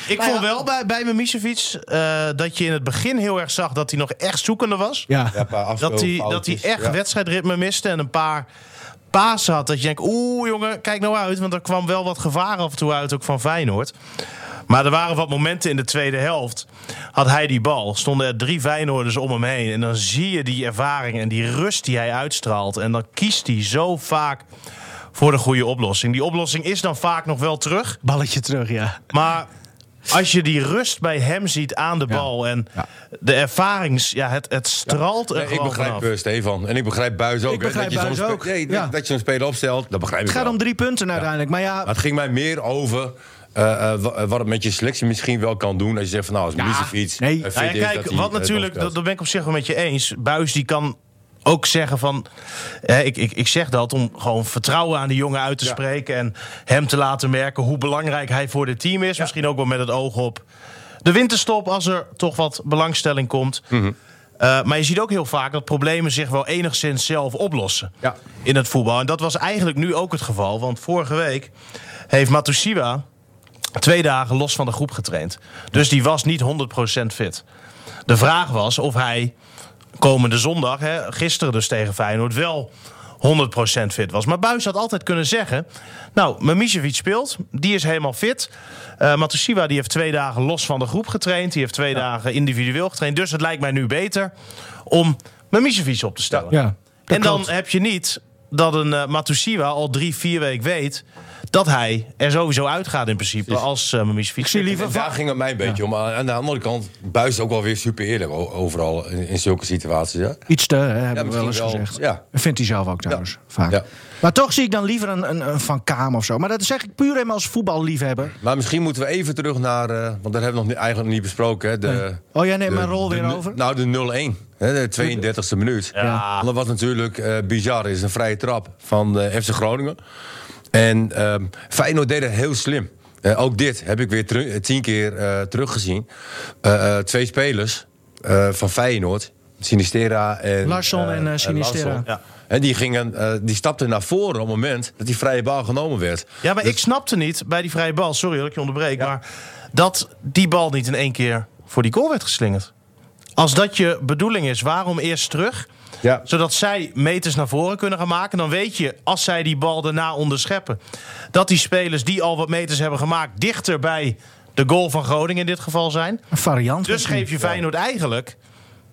S3: Ik
S2: nou ja,
S3: vond wel bij, bij Mimicevic eh dat je in het begin heel erg zag dat hij nog echt zoekende was.
S2: Ja.
S4: Ja, een paar afspeel-
S3: Dat hij, dat hij
S4: foutjes.
S3: echt
S4: Ja.
S3: wedstrijdritme miste en een paar pasen had. Dat je denkt, oeh jongen, kijk nou uit. Want er kwam wel wat gevaar af en toe uit, ook van Feyenoord. Maar er waren wat momenten in de tweede helft. Had hij die bal, stonden er drie Feyenoorders om hem heen. En dan zie je die ervaring en die rust die hij uitstraalt. En dan kiest hij zo vaak voor de goede oplossing. Die oplossing is dan vaak nog wel terug.
S2: Balletje terug, ja.
S3: Maar als je die rust bij hem ziet aan de bal en de ervarings, ja, het, het straalt er
S4: Nee, ik
S3: gewoon
S4: begrijp
S3: vanaf.
S4: eh, Stefan en ik begrijp Buis ook. hè,
S2: begrijp
S4: dat je
S2: Buijs
S4: zo'n spe-
S2: ook,
S4: nee,
S2: ja.
S4: Dat je zo'n speler opstelt, dat begrijp
S2: Het
S4: ik
S2: gaat
S4: wel.
S2: om drie punten uiteindelijk. Maar ja,
S4: Maar het ging mij meer over eh, eh, wa- eh, wat het met je selectie misschien wel kan doen. Als je zegt van nou, als Milosevic
S2: nee.
S4: eh, fit
S3: Nou ja,
S4: is, dat
S3: kijk,
S4: hij,
S3: wat
S4: eh, dan
S3: natuurlijk,
S4: speelt.
S3: dat, dat ben ik op zich wel met je eens. Buis die kan ook zeggen van, hè, ik, ik, ik zeg dat om gewoon vertrouwen aan de jongen uit te spreken en hem te laten merken hoe belangrijk hij voor dit team is. Misschien ook wel met het oog op de winterstop als er toch wat belangstelling komt.
S4: Mhm.
S3: Uh, maar je ziet ook heel vaak dat problemen zich wel enigszins zelf oplossen
S4: Ja.
S3: in het voetbal. En dat was eigenlijk nu ook het geval. Want vorige week heeft Matusiwa twee dagen los van de groep getraind. Dus die was niet 100% fit. De vraag was of hij komende zondag, hè, gisteren dus tegen Feyenoord, wel 100% fit was. Maar Buis had altijd kunnen zeggen... nou, Mimicevic speelt, die is helemaal fit. Eh Matusiwa die heeft twee dagen los van de groep getraind. Die heeft twee dagen individueel getraind. Dus het lijkt mij nu beter om Mimicevic op te stellen.
S2: Ja, dat
S3: en dan
S2: klopt.
S3: heb je niet dat een eh Matusiwa al drie, vier weken weet... dat hij er sowieso uitgaat in principe als eh Mimicevic.
S2: Ik zie liever
S4: En daar ging het mij een beetje om. Aan aan de andere kant, Buis is ook wel weer super eerlijk o- overal in, in zulke situaties. Hè?
S2: Iets te, hè, hebben we wel eens
S4: misschien wel,
S2: gezegd.
S4: ja.
S2: Vindt hij zelf ook trouwens, vaak.
S4: Ja.
S2: Maar toch zie ik dan liever een, een, een Van Kaam of zo. Maar dat zeg ik puur helemaal als voetballiefhebber.
S4: Maar misschien moeten we even terug naar, eh, want daar hebben we nog niet, eigenlijk nog niet besproken. Hè, de,
S2: Oh, jij neemt
S4: de-
S2: mijn rol
S4: de
S2: weer
S4: nu-
S2: over?
S4: Nou, de 0-1. Hè, de 32e minuut.
S2: Ja.
S4: Want Dat was natuurlijk eh, bizar. Het is een vrije trap van eh, FC Groningen. En ehm Feyenoord deed het heel slim. Eh, ook dit heb ik weer teru- tien keer eh, teruggezien. Eh, eh, twee spelers eh, van Feyenoord. Sinistera en...
S2: Larsson
S4: eh,
S2: en, eh, Sinistera.
S4: Larsson.
S3: Ja.
S4: En die, gingen, eh, die stapten naar voren op het moment dat die vrije bal genomen werd.
S3: Ja,
S2: Dus-
S3: maar ik snapte niet bij die vrije bal, sorry dat ik je onderbreek, maar dat die bal niet in één keer voor die goal werd geslingerd. Als dat je bedoeling is, waarom eerst terug?
S4: Ja.
S3: Zodat zij meters naar voren kunnen gaan maken. Dan weet je, als zij die bal daarna onderscheppen, dat die spelers die al wat meters hebben gemaakt, dichter bij de goal van Groningen in dit geval zijn.
S2: Een variant.
S3: Dus
S2: misschien.
S3: geef je Feyenoord eigenlijk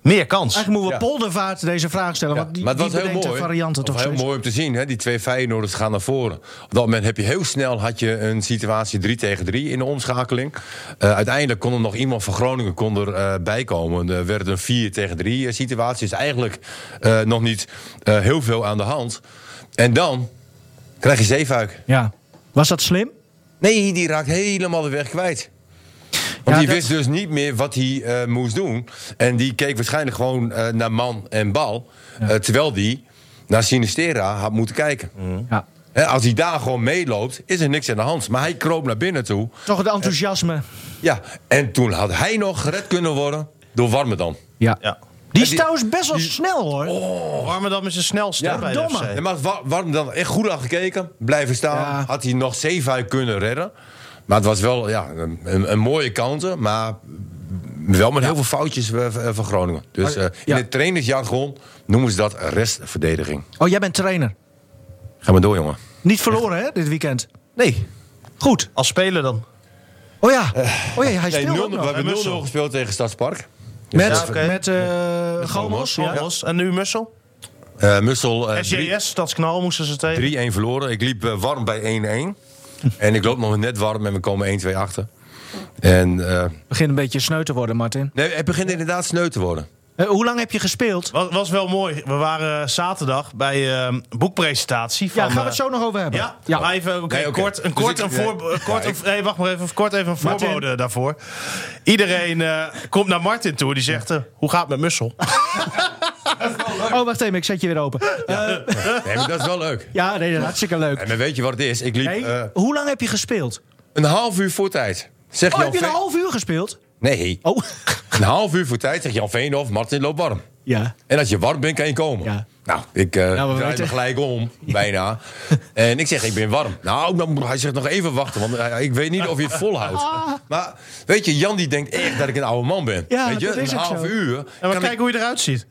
S3: meer kans.
S2: Eigenlijk moeten we
S4: Ja.
S2: Poldervaart deze vraag stellen.
S4: Ja,
S2: want die,
S4: maar het
S2: die
S4: was heel
S2: bedenkt de
S4: mooi.
S2: varianten
S4: Of
S2: toch
S4: heel
S2: steeds.
S4: mooi om te zien. Hè? Die twee Feyenoorders gaan naar voren. Op dat moment heb je heel snel had je een situatie 3 tegen 3 in de omschakeling. Eh, uiteindelijk kon er nog iemand van Groningen kon er, eh, bij komen. Er werd een 4 tegen 3 eh, situatie. Is eigenlijk eh, nog niet eh, heel veel aan de hand. En dan krijg je Zeefuik.
S2: Ja. Was dat slim?
S4: Nee, die raakt helemaal de weg kwijt. Want
S2: Ja,
S4: die
S2: dat-
S4: wist dus niet meer wat hij eh, moest doen. En die keek waarschijnlijk gewoon eh, naar man en bal. eh, terwijl die naar Sinistera had moeten kijken.
S2: Ja.
S4: Hè, als hij daar gewoon meeloopt, is er niks aan de hand. Maar hij kroop naar binnen toe.
S2: Toch het enthousiasme.
S4: Ja, en toen had hij nog gered kunnen worden door Warmerdam.
S2: Ja.
S3: Ja.
S2: Die
S4: Ja,
S2: is
S4: die- Oh.
S2: trouwens best wel snel hoor.
S3: Warmerdam is een snelste
S4: Ja,
S3: bij de
S2: domme.
S3: FC.
S4: En maar Wa- Warmerdam echt goed aan gekeken, blijven staan.
S2: Ja.
S4: Had hij nog 7 kunnen redden. Maar het was wel ja, een, een, een mooie counter, maar wel met heel veel foutjes eh, van van Groningen. Dus eh, in
S2: ja.
S4: het trainersjargon noemen ze dat restverdediging.
S2: Oh, jij bent trainer.
S4: Ga maar door, jongen.
S2: Niet verloren hè, dit weekend.
S3: Nee,
S2: Goed.
S3: als speler dan.
S2: Oh ja. Oh ja, hij
S4: Eh, Nee,
S2: speelt ook
S4: nul- we
S2: nog.
S4: hebben 0-0
S3: Mussel.
S4: gespeeld tegen Stadspark. Dus,
S2: Met,
S3: Ja, oké.
S2: met eh Gomos. ja.
S3: Thomas. En nu Mussel.
S4: Eh Mussel eh, drie-
S3: SJS, Stadsknal moesten ze tegen.
S4: 3-1 verloren. Ik liep eh, warm bij 1-1. en ik loop nog net warm en we komen 1-2 achter. En eh,
S2: Begint een beetje sneu te worden, Martin.
S4: nee, het begint inderdaad sneu te worden.
S2: Eh, hoe lang heb je gespeeld?
S3: Was, was wel mooi. We waren eh, zaterdag bij ehm boekpresentatie. Van,
S2: Ja, gaan we
S3: eh,
S2: het zo nog over hebben.
S3: Ja,
S2: ja.
S3: maar even oké,
S4: Nee, oké.
S3: kort, een
S4: Dus
S3: kort,
S4: ik-
S3: een voor,
S4: ja,
S3: een kort,
S4: ja,
S3: een- hey, wacht maar even, kort even een voorbode daarvoor. Iedereen eh, komt naar Martin toe die zegt, eh, hoe gaat het met Mussel?
S2: Oh, wacht even, ik zet je weer open. Ja,
S4: Nee, maar dat is wel leuk.
S2: ja nee, dat is hartstikke leuk.
S4: En dan weet je wat het is. Ik liep
S2: Hey,
S4: eh,
S2: hoe lang heb je gespeeld?
S4: een half uur voor tijd. Zeg
S2: Oh,
S4: Jan
S2: heb je een
S4: Veen-
S2: half uur gespeeld?
S4: Nee,
S2: Oh,
S4: een half uur voor tijd zegt Jan Veenhoff, Martin loopt warm.
S2: ja.
S4: En als je warm bent, kan je komen.
S2: Ja.
S4: Nou, ik eh
S2: we
S4: draai
S2: weten-
S4: me gelijk om, bijna. En ik zeg, ik ben warm. Nou, dan moet- hij zegt nog even wachten, want eh, ik weet niet of je het volhoudt. Maar weet je, Jan die denkt echt dat ik een oude man ben.
S2: Ja,
S4: weet je,
S2: dat is
S4: een
S2: ook
S4: half
S2: zo.
S4: uur.
S3: En we
S4: kan
S3: kijken
S4: ik,
S3: hoe je eruit ziet.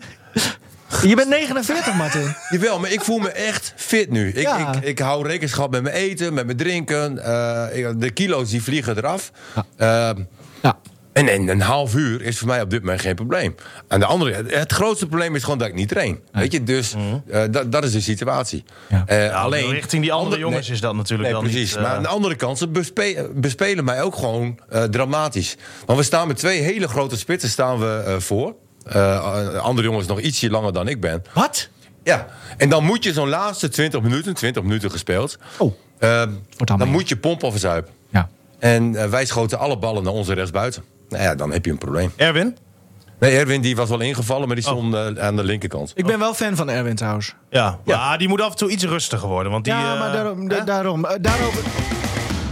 S2: Je bent 49, Martin.
S4: jawel, maar ik voel me echt fit nu. Ik,
S2: Ja.
S4: ik, ik hou rekenschap met mijn eten, met mijn drinken. Eh, ik- de kilo's die vliegen eraf. Ehm,
S2: Ja.
S4: en, en een half uur is voor mij op dit moment geen probleem. Aan de andere, het, het grootste probleem is gewoon dat ik niet train. Weet je, dus
S3: Mhm.
S4: eh, dat- dat is de situatie.
S2: Ja.
S4: Eh,
S3: Alleen, Nou, richting die andere jongens
S4: nee,
S3: is dat natuurlijk
S4: nee,
S3: wel
S4: precies.
S3: niet... eh,
S4: maar aan de andere kant, ze bespe- bespelen mij ook gewoon eh, dramatisch. Want we staan met twee hele grote spitsen staan we, eh, voor. Eh, andere jongens nog ietsje langer dan ik ben.
S2: Wat?
S4: Ja, en dan moet je zo'n laatste 20 minuten, 20 minuten gespeeld...
S2: Oh,
S4: eh, dan
S2: allemaal.
S4: moet je pompen of verzuipen.
S2: ja.
S4: En eh, wij schoten alle ballen naar onze rechtsbuiten. Nou ja, dan heb je een probleem.
S3: Erwin?
S4: Nee, Erwin die was wel ingevallen, maar die stond eh, aan de linkerkant.
S2: Ik ben wel fan van Erwin trouwens.
S3: Ja, ja, die moet af en toe iets rustiger worden. Want die,
S2: ja,
S3: eh,
S2: maar daarom, da-
S3: hè?
S2: daarom, eh, daarover,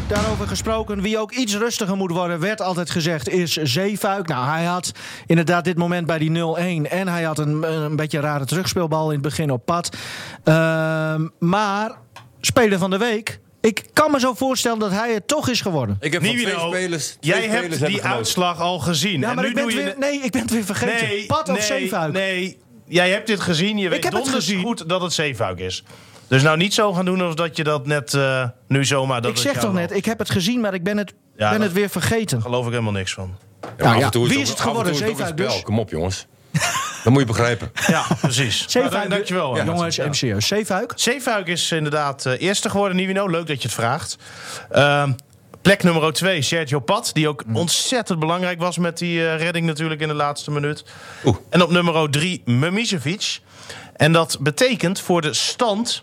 S2: daarover gesproken. Wie ook iets rustiger moet worden, werd altijd gezegd, is Zeefuik. Nou, hij had inderdaad dit moment bij die 0-1. En hij had een, eh, een beetje rare terugspeelbal in het begin op pad. Ehm, maar, speler van de week. Ik kan me zo voorstellen dat hij het toch is geworden.
S4: Ik heb van twee
S3: Nivino,
S4: spelers. Twee
S3: jij
S4: spelers
S3: hebt
S4: hebben
S3: die
S4: genoten.
S3: uitslag al gezien.
S2: Ja,
S3: en
S2: maar
S3: nu
S2: ik ben
S3: doe
S2: het
S3: je...
S2: weer, nee, ik ben het weer vergeten. Pad of
S3: nee,
S2: Zeefuik?
S3: Nee, jij hebt dit gezien. Je weet
S2: heb het
S3: donders
S2: gezien.
S3: goed dat het zeefuik is. Dus nou niet zo gaan doen of dat je dat net eh, nu zomaar... Dat
S2: ik
S3: het
S2: zeg
S3: jou
S2: toch
S3: wel-
S2: net, ik heb het gezien, maar ik ben het,
S3: Ja,
S2: ben
S3: dat-
S2: het weer vergeten.
S3: geloof ik helemaal niks van.
S4: Ja, maar
S2: ja,
S4: af en toe
S2: wie
S4: ook-
S2: is het
S4: af en toe
S2: geworden?
S4: is ook een
S2: Zeefuik dus?
S4: spel. Kom op, jongens. Dat moet je begrijpen.
S3: Ja, precies.
S2: Zeefuik, eh,
S3: Nou, dan- dankjewel. Arnold.
S2: Jongens,
S3: Ja.
S2: MCO. serieus. Zeefuik?
S3: Zeefuik is inderdaad eh, eerste geworden, Nivino. Leuk dat je het vraagt. Ehm, plek nummer 2, Sergio Pat. Die ook ontzettend belangrijk was met die eh, redding natuurlijk in de laatste minuut.
S4: Oeh.
S3: En op nummer 3, Memicevic. En dat betekent voor de stand...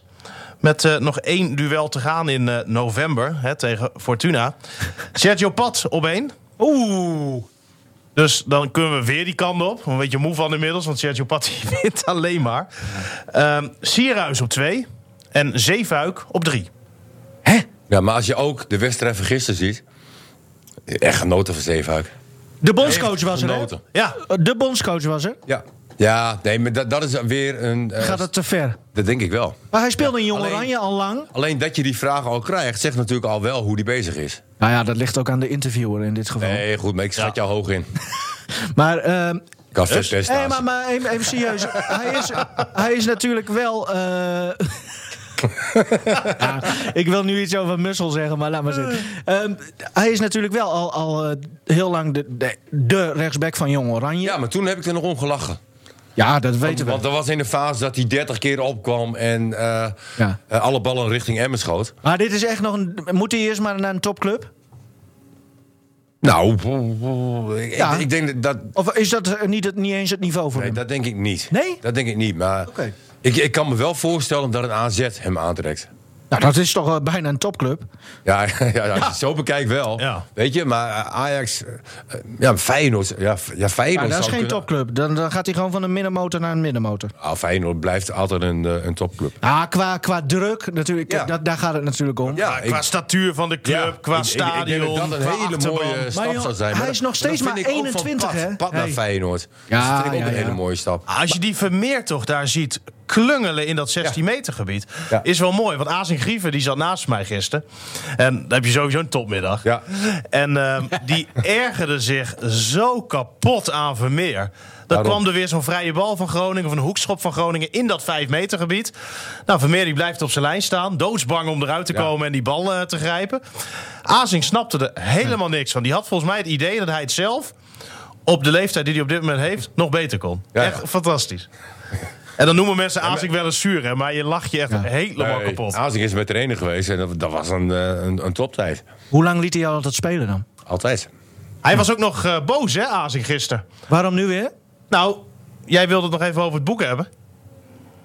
S3: Met eh, nog één duel te gaan in eh, november hè, tegen Fortuna. Sergio Pat op één.
S2: Oeh.
S3: Dus dan kunnen we weer die kant op. Een beetje moe van inmiddels, want Sergio Patti wint alleen maar. Ehm Sierhuis op twee en Zeefuik op drie.
S4: Ja, maar als je ook de wedstrijd van gisteren ziet... Echt genoten van Zeefuik.
S2: De bondscoach was er, hè?
S4: Genoten.
S3: Ja,
S2: De bondscoach was er.
S4: Ja. Ja, nee, maar dat, dat is weer een... eh,
S2: Gaat het te ver?
S4: Dat denk ik wel.
S2: Maar hij speelde in Jong
S4: alleen-
S2: Oranje al lang.
S4: Alleen dat je die vraag al krijgt, zegt natuurlijk al wel hoe die bezig is.
S2: Nou ja, dat ligt ook aan de interviewer in dit geval.
S4: Nee, goed, maar ik schat jou hoog in.
S2: Maar, ehm,
S4: Ik had vet best
S2: hey,
S4: naast.
S2: maar, maar even, even serieus. hij, is, hij is natuurlijk wel... eh, ja, ik wil nu iets over Mussel zeggen, maar laat maar zitten. Ehm, hij is natuurlijk wel al, al eh, heel lang de, de, de rechtsback van Jong Oranje.
S4: Ja,
S2: Ja,
S4: maar toen heb ik er nog om gelachen.
S2: dat weten we.
S4: Want dat was in de fase dat hij 30 keer opkwam en eh,
S2: Ja.
S4: eh, alle ballen richting Emmen schoot.
S2: Maar dit is echt nog een... Moet hij eerst maar naar een topclub?
S4: Nou, boe, boe, ik,
S2: Ja.
S4: ik denk dat.
S2: Of is dat eh, niet, het- niet eens het niveau voor
S4: Nee,
S2: hem?
S4: dat denk ik niet.
S2: Nee?
S4: Dat denk ik niet. Maar
S2: Oké.
S4: ik, ik kan me wel voorstellen dat een AZ hem aantrekt.
S2: Nou, dat is toch eh, bijna een topclub?
S4: Ja, ja, als je het zo bekijkt wel.
S3: Ja.
S4: Weet je, maar eh, Ajax... eh, eh, Ja, Feyenoord... Ja, F- ja
S2: Ja,
S4: Feyenoord
S2: dat is
S4: zou
S2: geen
S4: kunnen-
S2: topclub. Dan, dan gaat hij gewoon van een middenmotor naar een middenmotor.
S4: Ah, Feyenoord blijft altijd een, eh, een topclub.
S2: Ah, qua, qua druk natuurlijk.
S4: Ja.
S2: Dat, daar gaat het natuurlijk om.
S4: Ja,
S3: qua statuur van de club, qua
S4: ik- ik-
S3: stadion,
S4: Ik, denk dat dat
S3: qua
S4: een hele
S3: achterban.
S4: mooie stap
S2: joh,
S4: zou zijn.
S2: hij
S4: Maar
S2: is
S4: dat-
S2: nog steeds
S4: dat vind
S2: maar
S4: ik ook van
S2: 21,
S4: Pat.
S2: hè?
S4: Pat naar
S2: Hey.
S4: Feyenoord. Dus
S2: Ja,
S4: dat vind ik ook
S2: ja,
S4: een
S2: ja. Ah,
S4: hele mooie stap.
S3: Als je die Vermeer toch daar ziet klungelen in dat 16 meter gebied...
S4: Ja.
S3: is wel mooi, want Azing Grieven die zat naast mij gisteren. En dan heb je sowieso een topmiddag.
S4: Ja.
S3: En ehm, die ergerde zich zo kapot aan Vermeer. Dan
S4: Daarom.
S3: kwam er weer zo'n vrije bal van Groningen... of een hoekschop van Groningen in dat 5 meter gebied. Nou, Vermeer die blijft op zijn lijn staan. Doodsbang om eruit te
S4: Ja.
S3: komen en die bal eh, te grijpen. Azing snapte er helemaal niks van. Die had volgens mij het idee dat hij het zelf... op de leeftijd die hij op dit moment heeft, nog beter kon.
S4: Ja, ja.
S3: Echt fantastisch. En dan noemen mensen Azing wel eens zuur, hè, maar je lacht je echt helemaal
S4: Nee,
S3: kapot.
S4: Azing is met de trainer geweest en dat, dat was een, eh, een, een toptijd.
S2: Hoe lang liet hij jou altijd spelen dan?
S4: Altijd.
S3: Hij was ook nog eh, boos, hè, Azing, gisteren.
S2: Waarom nu weer?
S3: Nou, jij wilde het nog even over het boek hebben.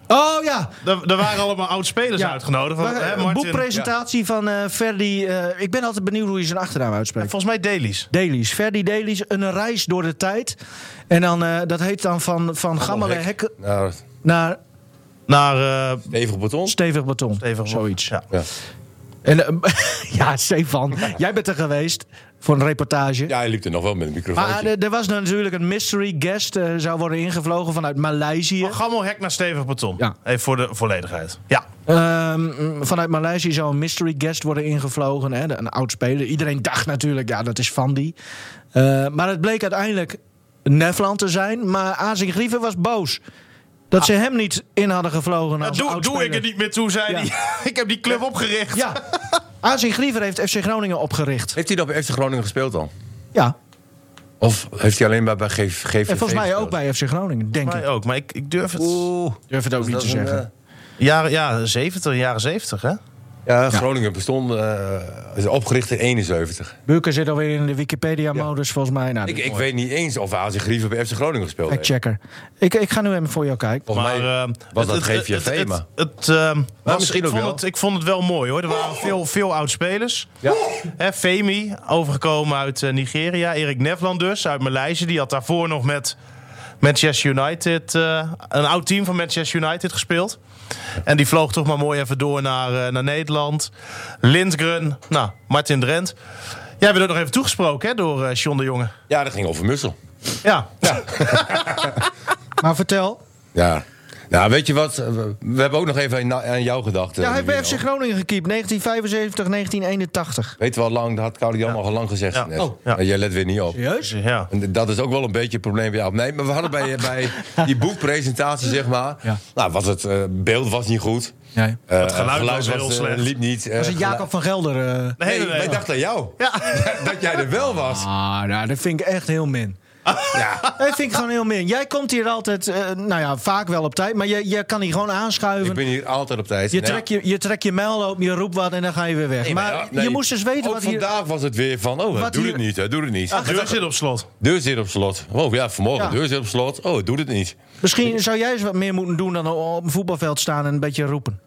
S2: Oh ja,
S3: Er, er waren allemaal oud-spelers
S2: ja.
S3: uitgenodigd. Van,
S2: Waar-
S3: hè,
S2: een
S3: Martin-
S2: boekpresentatie van eh Ferdi. eh, ik ben altijd benieuwd hoe je zijn achternaam uitspreekt.
S3: Volgens mij Delies.
S2: Delies, Ferdi Delies, een reis door de tijd. En dan, eh, dat heet dan van, van Gammelen
S4: Hek.
S2: Hek
S4: Nou,
S2: naar
S3: Naar... eh
S4: even beton.
S2: Stevig Beton.
S3: Steven
S2: Zoiets.
S3: Ja.
S4: Ja.
S2: En, eh, ja, Stefan, jij bent er geweest voor een reportage.
S4: ja, hij liep er nog wel met een microfoon.
S2: Maar eh, er, er was natuurlijk een mystery guest, eh, zou worden ingevlogen vanuit Maleisië.
S3: Van Gammelhek naar Stevig Beton.
S2: Ja.
S3: Even voor de volledigheid. Ja.
S2: Ehm, vanuit Maleisië zou een mystery guest worden ingevlogen. Hè? Een oud speler. Iedereen dacht natuurlijk, ja, dat is van die. Eh, maar het bleek uiteindelijk Nefland te zijn. Maar Azing Grieven was boos. Dat ze hem niet in hadden gevlogen. Als
S3: Ah. doe
S2: oudspeler.
S3: doe ik er niet meer toe, zei
S2: Ja.
S3: hij. ik heb die club opgericht.
S2: Ja. Azing Grieven heeft FC Groningen opgericht.
S4: Heeft hij dat bij FC Groningen gespeeld dan?
S2: Ja.
S4: Of heeft hij alleen maar bij GV GVV
S2: En volgens mij ook
S4: gespeeld?
S2: bij FC Groningen, denk
S3: Mij
S2: ik.
S3: ook, maar dus ik, ik durf het...
S4: Oeh,
S2: Durf het ook niet
S4: dat
S2: te
S4: is een,
S2: zeggen.
S3: eh, Jaren, ja, 70, jaren 70, hè?
S4: eh, ja, Groningen bestond, eh, is opgericht in 71.
S2: Burker zit alweer in de Wikipedia-modus, volgens mij. Nou,
S4: Ik,
S2: dat-
S4: ik weet niet eens of Azing Grieven bij FC Groningen gespeeld heeft.
S2: Factchecker. Ik, ik ga nu even voor jou kijken.
S4: Volgens mij
S3: Maar, ehm,
S4: was dat
S3: het- het-
S4: GVV,
S3: het-
S4: maar...
S3: het- het, ehm, was-
S4: misschien
S3: ik
S4: ook
S3: vond
S4: wel. Oh.
S3: het- Ik vond het wel mooi, hoor. Er waren veel, veel oud-spelers.
S4: Ja.
S3: Hè, Femi, overgekomen uit eh, Nigeria. Erik Nevland dus, uit Maleisië. Die had daarvoor nog met Manchester United... eh, een oud team van Manchester United gespeeld. En die vloog toch maar mooi even door naar, eh, naar Nederland. Lindgren, nou, Martin Drent. Jij werd ook nog even toegesproken, hè, door eh John de Jonge.
S4: Ja, dat ging over Mussel.
S3: Ja.
S2: Maar vertel.
S4: Ja. Nou, weet je wat? We hebben ook nog even aan- aan jou gedacht.
S2: Ja,
S4: eh,
S2: hij heeft bij
S4: Nivino.
S2: FC Groningen gekiept. 1975, 1981.
S4: Weet je wel lang, dat had Carly Jan al lang gezegd.
S7: Ja.
S4: Net.
S2: Oh.
S4: Maar Jij let weer niet op.
S2: Juist?
S3: Ja.
S4: En Dat is ook wel een beetje het probleem bij jou. Nee, maar we hadden bij, bij die boekpresentatie, zeg maar.
S2: Ja.
S4: Nou, was het eh, beeld was niet goed.
S2: Nee.
S4: Eh,
S7: Het geluid was heel
S4: eh,
S7: slecht.
S4: liep niet. eh,
S2: Was het Jacob van Gelder? eh?
S4: gelu- Nee, wij dachten aan jou. dat jij er wel was.
S2: Ah, nou, dat vind ik echt heel min.
S4: Ja.
S2: Dat vind ik gewoon heel min. Jij komt hier altijd, eh, nou ja, vaak wel op tijd, maar je, je kan hier gewoon
S4: Ik
S2: aanschuiven.
S4: ben hier altijd op tijd.
S2: Je
S4: Nee.
S2: trekt je, je, trekt je mijl op, je roept wat en dan ga je weer weg.
S4: Nee,
S2: maar
S4: ja, nee.
S2: je moest eens weten
S4: Ook
S2: wat hier...
S4: vandaag was het weer van, oh,
S2: Wat
S4: doe
S2: hier- Ah.
S4: het niet, hè, doe het niet.
S3: De deur zit op slot.
S4: Deur zit op slot. Oh ja, vanmorgen
S2: Ja.
S4: deur zit op slot. Oh, doe het niet.
S2: Misschien zou jij eens wat meer moeten doen dan op een voetbalveld staan en een beetje roepen.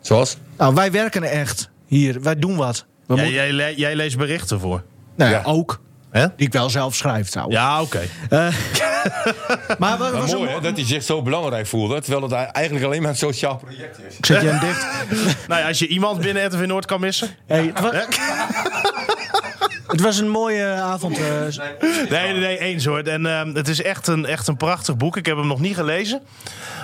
S4: Zoals?
S2: Nou, wij werken echt hier. Wij doen wat. We
S3: Jij,
S2: moeten-
S3: jij, le- jij leest berichten voor.
S2: nou ja,
S4: ja.
S2: ook.
S3: Hè?
S2: Die ik wel zelf schrijf trouwens.
S3: Ja, oké.
S2: Maar wat
S4: Maar
S2: was
S4: mooi
S2: een-
S4: hè, dat hij zich zo belangrijk voelde, terwijl het eigenlijk alleen maar een sociaal project is.
S2: Ik zet je hem dicht.
S3: Nou ja, als je iemand binnen RTV Noord kan missen.
S2: Hey, het, was... het was een mooie avond. eh.
S3: Nee, nee, nee, eens hoor. En ehm, het is echt een, echt een prachtig boek. Ik heb hem nog niet gelezen.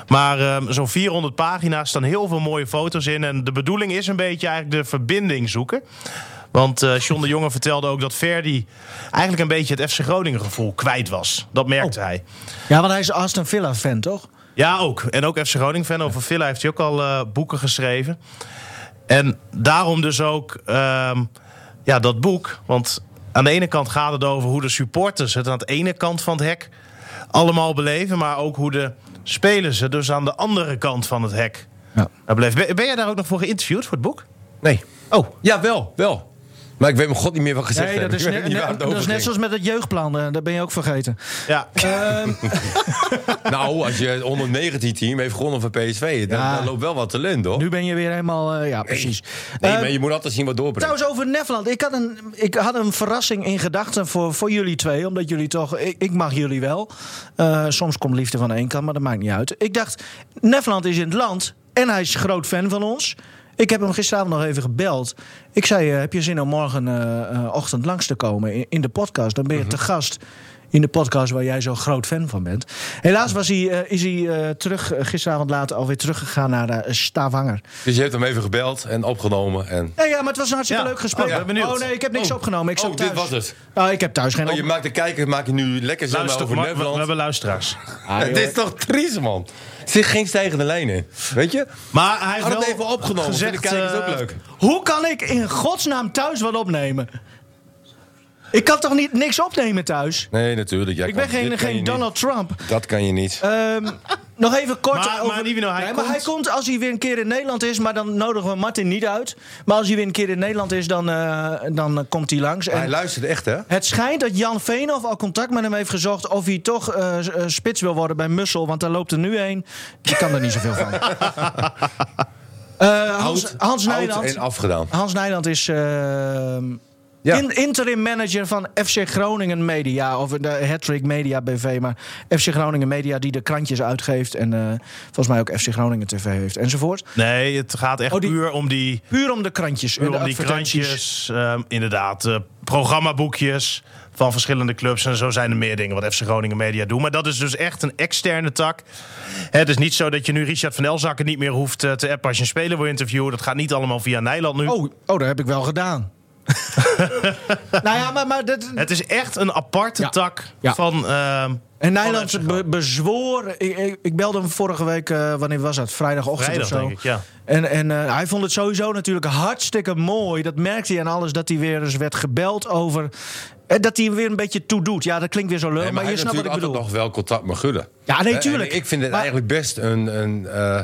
S3: Maar ehm, zo'n 400 pagina's staan heel veel mooie foto's in. En de bedoeling is een beetje eigenlijk de verbinding zoeken. Want eh John de Jonge vertelde ook dat Verdi eigenlijk een beetje het FC Groningen gevoel kwijt was. Dat merkte hij.
S2: Ja, want hij is Aston Villa-fan, toch?
S3: Ja, ook. En ook FC Groningen fan. Over Villa heeft hij ook al eh, boeken geschreven. En daarom dus ook ehm, ja, dat boek. Want aan de ene kant gaat het over hoe de supporters het aan de ene kant van het hek allemaal beleven. Maar ook hoe de spelers het dus aan de andere kant van het hek
S2: Ja.
S3: ja. beleven. Ben, ben jij daar ook nog voor geïnterviewd voor het boek?
S4: Nee.
S3: Oh,
S4: Ja, wel, wel. Maar ik weet mijn god niet meer wat gezegd
S2: Nee,
S4: heb.
S2: dat is,
S4: Ik weet
S2: net,
S4: niet waar
S2: net-
S4: het
S2: dat
S4: over
S2: is net
S4: ging.
S2: zoals met het jeugdplan. eh, Dat ben je ook vergeten. Ehm,
S3: ja.
S4: Nou, als je het onder 19 team heeft gewonnen van PSV, dan,
S2: Ja.
S4: dan loopt wel wat talent, hoor.
S2: Nu ben je weer helemaal... eh, ja, precies.
S4: nee,
S2: Eh,
S4: maar je moet altijd zien wat doorbrengt.
S2: Trouwens, over Nefland. Ik had een, ik had een verrassing in gedachten voor, voor jullie twee. Omdat jullie toch... Ik, ik mag jullie wel. Eh, soms komt liefde van de ene kant, maar dat maakt niet uit. Ik dacht, Nefland is in het land. En hij is groot fan van ons. Ik heb hem gisteravond nog even gebeld. Ik zei, eh, heb je zin om morgenochtend langs te komen in, in de podcast? Dan ben je te gast in de podcast waar jij zo'n groot fan van bent. Helaas was hij, eh, is hij eh, terug, eh, gisteravond later alweer teruggegaan naar eh, Stavanger.
S4: Dus je hebt hem even gebeld en opgenomen. En...
S2: Nee, ja, maar het was een hartstikke
S3: Ja.
S2: leuk gesprek.
S3: Oh, ik ben benieuwd.
S2: Oh, nee, ik heb niks
S4: Oh.
S2: opgenomen. Ik zat
S4: Oh,
S2: thuis.
S4: dit was het.
S2: Nou, ik heb thuis geen
S4: Oh, je
S2: op-
S4: maakt de kijker maak je nu lekker zeg maar
S3: Luister,
S4: over
S3: we, we- we
S4: Nederland.
S3: hebben luisteraars.
S4: Het is toch triest, man. Er zit geen stijgende lijn in. Weet je?
S3: Maar hij heeft
S4: Had het
S3: wel
S4: even opgenomen.
S3: gezegd,
S4: Gezegd, de kijkers ook
S3: eh,
S4: leuk.
S2: Hoe kan ik in godsnaam thuis wat opnemen? Ik kan toch niet niks opnemen thuis?
S4: Nee, natuurlijk. jij
S2: Ik
S4: kan-
S2: ben geen,
S4: Oh, dit kan
S2: geen
S4: je
S2: Donald Trump.
S4: niet. Dat kan je niet.
S2: Ehm, nog even kort
S3: Maar- maar
S2: over...
S3: Nivino, hij
S2: Nee,
S3: komt-
S2: maar hij komt als hij weer een keer in Nederland is, maar dan nodigen we Martin niet uit. Maar als hij weer een keer in Nederland is, dan, eh, dan eh, komt hij langs. En
S4: Hij luistert echt, hè?
S2: Het schijnt dat Jan Veenhoff al contact met hem heeft gezocht... of hij toch eh, s- eh, spits wil worden bij Mussel, want daar loopt er nu een. Die kan er niet zoveel van. Eh, Hans,
S4: Oud-
S2: Hans Ah,
S4: oud
S2: Nijland.
S4: en afgedaan.
S2: Hans Nijland is eh,
S4: Ja.
S2: in- interim manager van FC Groningen Media. Of de Hattrick Media BV. Maar FC Groningen Media die de krantjes uitgeeft. En eh, volgens mij ook FC Groningen TV heeft enzovoort.
S3: Nee, het gaat echt
S2: Oh, die-
S3: puur om die...
S2: Puur om de krantjes. en
S3: Puur
S2: de
S3: om die
S2: advertenties.
S3: krantjes, ehm, inderdaad. eh, programmaboekjes van verschillende clubs. En zo zijn er meer dingen wat FC Groningen Media doen. Maar dat is dus echt een externe tak. Het is niet zo dat je nu Richard van Elzakken niet meer hoeft eh, te appen als je een speler wil interviewen. Dat gaat niet allemaal via Nijland nu.
S2: Oh, oh, dat heb ik wel gedaan. nou ja, maar, maar dat,
S3: Het is echt een aparte
S2: Ja.
S3: tak
S2: Ja.
S3: van... ehm,
S2: En
S3: Van
S2: Nijland
S3: FC
S2: be- bezwoer. Ik, ik, ik belde hem vorige week, eh, wanneer was dat? Vrijdagochtend
S3: Vrijdag,
S2: of zo.
S3: denk ik, ja.
S2: En, en eh, hij vond het sowieso natuurlijk hartstikke mooi. Dat merkte hij aan alles dat hij weer eens werd gebeld over. eh, dat hij weer een beetje toe doet. Ja, dat klinkt weer zo leuk,
S4: Nee, maar
S2: maar,
S4: hij
S2: je
S4: heeft
S2: snapt wat ik
S4: natuurlijk
S2: bedoel.
S4: altijd nog wel contact met Gudde.
S2: Ja, nee,
S4: Hè, en
S2: tuurlijk.
S4: Ik vind het
S2: Maar-
S4: eigenlijk best een... een eh,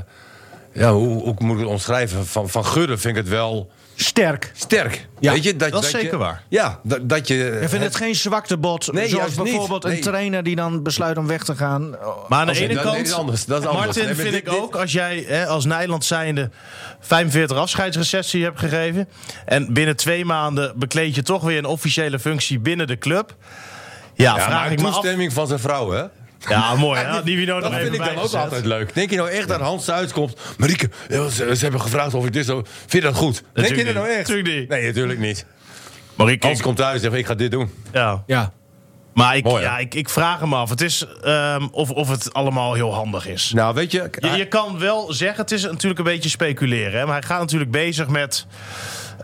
S4: ja, hoe, hoe moet ik het omschrijven? Van, van Gudde vind ik het wel
S2: Sterk.
S4: sterk.
S2: Ja,
S4: Weet je, dat,
S3: dat is
S4: je-
S3: zeker waar.
S4: Ja, dat, dat je...
S2: Ik vind het geen zwaktebod.
S4: Eh, Nee,
S2: zoals
S4: juist niet.
S2: bijvoorbeeld een
S4: Nee.
S2: trainer die dan besluit om weg te gaan.
S3: Maar aan de
S4: Als-
S3: ene
S4: dat-
S3: kant,
S4: nee, dat is anders, dat is anders.
S3: Martin,
S4: Nee, maar
S3: vind
S4: dit-
S3: ik
S4: dit-
S3: ook, als jij hè, als Nijland zijnde 45 afscheidsrecessie hebt gegeven... en binnen twee maanden bekleed je toch weer een officiële functie binnen de club...
S4: ja,
S3: Ja, vraag
S4: maar
S3: ik me af.
S4: toestemming van zijn vrouw, hè?
S3: Ja, mooi. Hè? Die Wino
S4: Dat
S3: nog
S4: vind
S3: Oh, even
S4: ik dan
S3: bij
S4: ook altijd leuk. Denk je nou echt dat Hans thuis komt? Marieke, ze, ze hebben gevraagd of ik dit zo... Vind je dat goed? Denk je
S3: Natuurlijk
S4: dat nou
S3: niet.
S4: echt?
S3: Natuurlijk niet.
S4: Nee, natuurlijk niet.
S3: Maar ik,
S4: Hans
S3: ik,
S4: komt thuis en zegt, ik ga dit doen.
S3: ja.
S2: Ja.
S3: Maar ik,
S4: Mooi, hè?
S3: ja, ik, ik vraag hem af het is, ehm, of, of het allemaal heel handig is.
S4: Nou, weet je...
S3: Je, je kan wel zeggen, het is natuurlijk een beetje speculeren. Hè? Maar hij gaat natuurlijk bezig met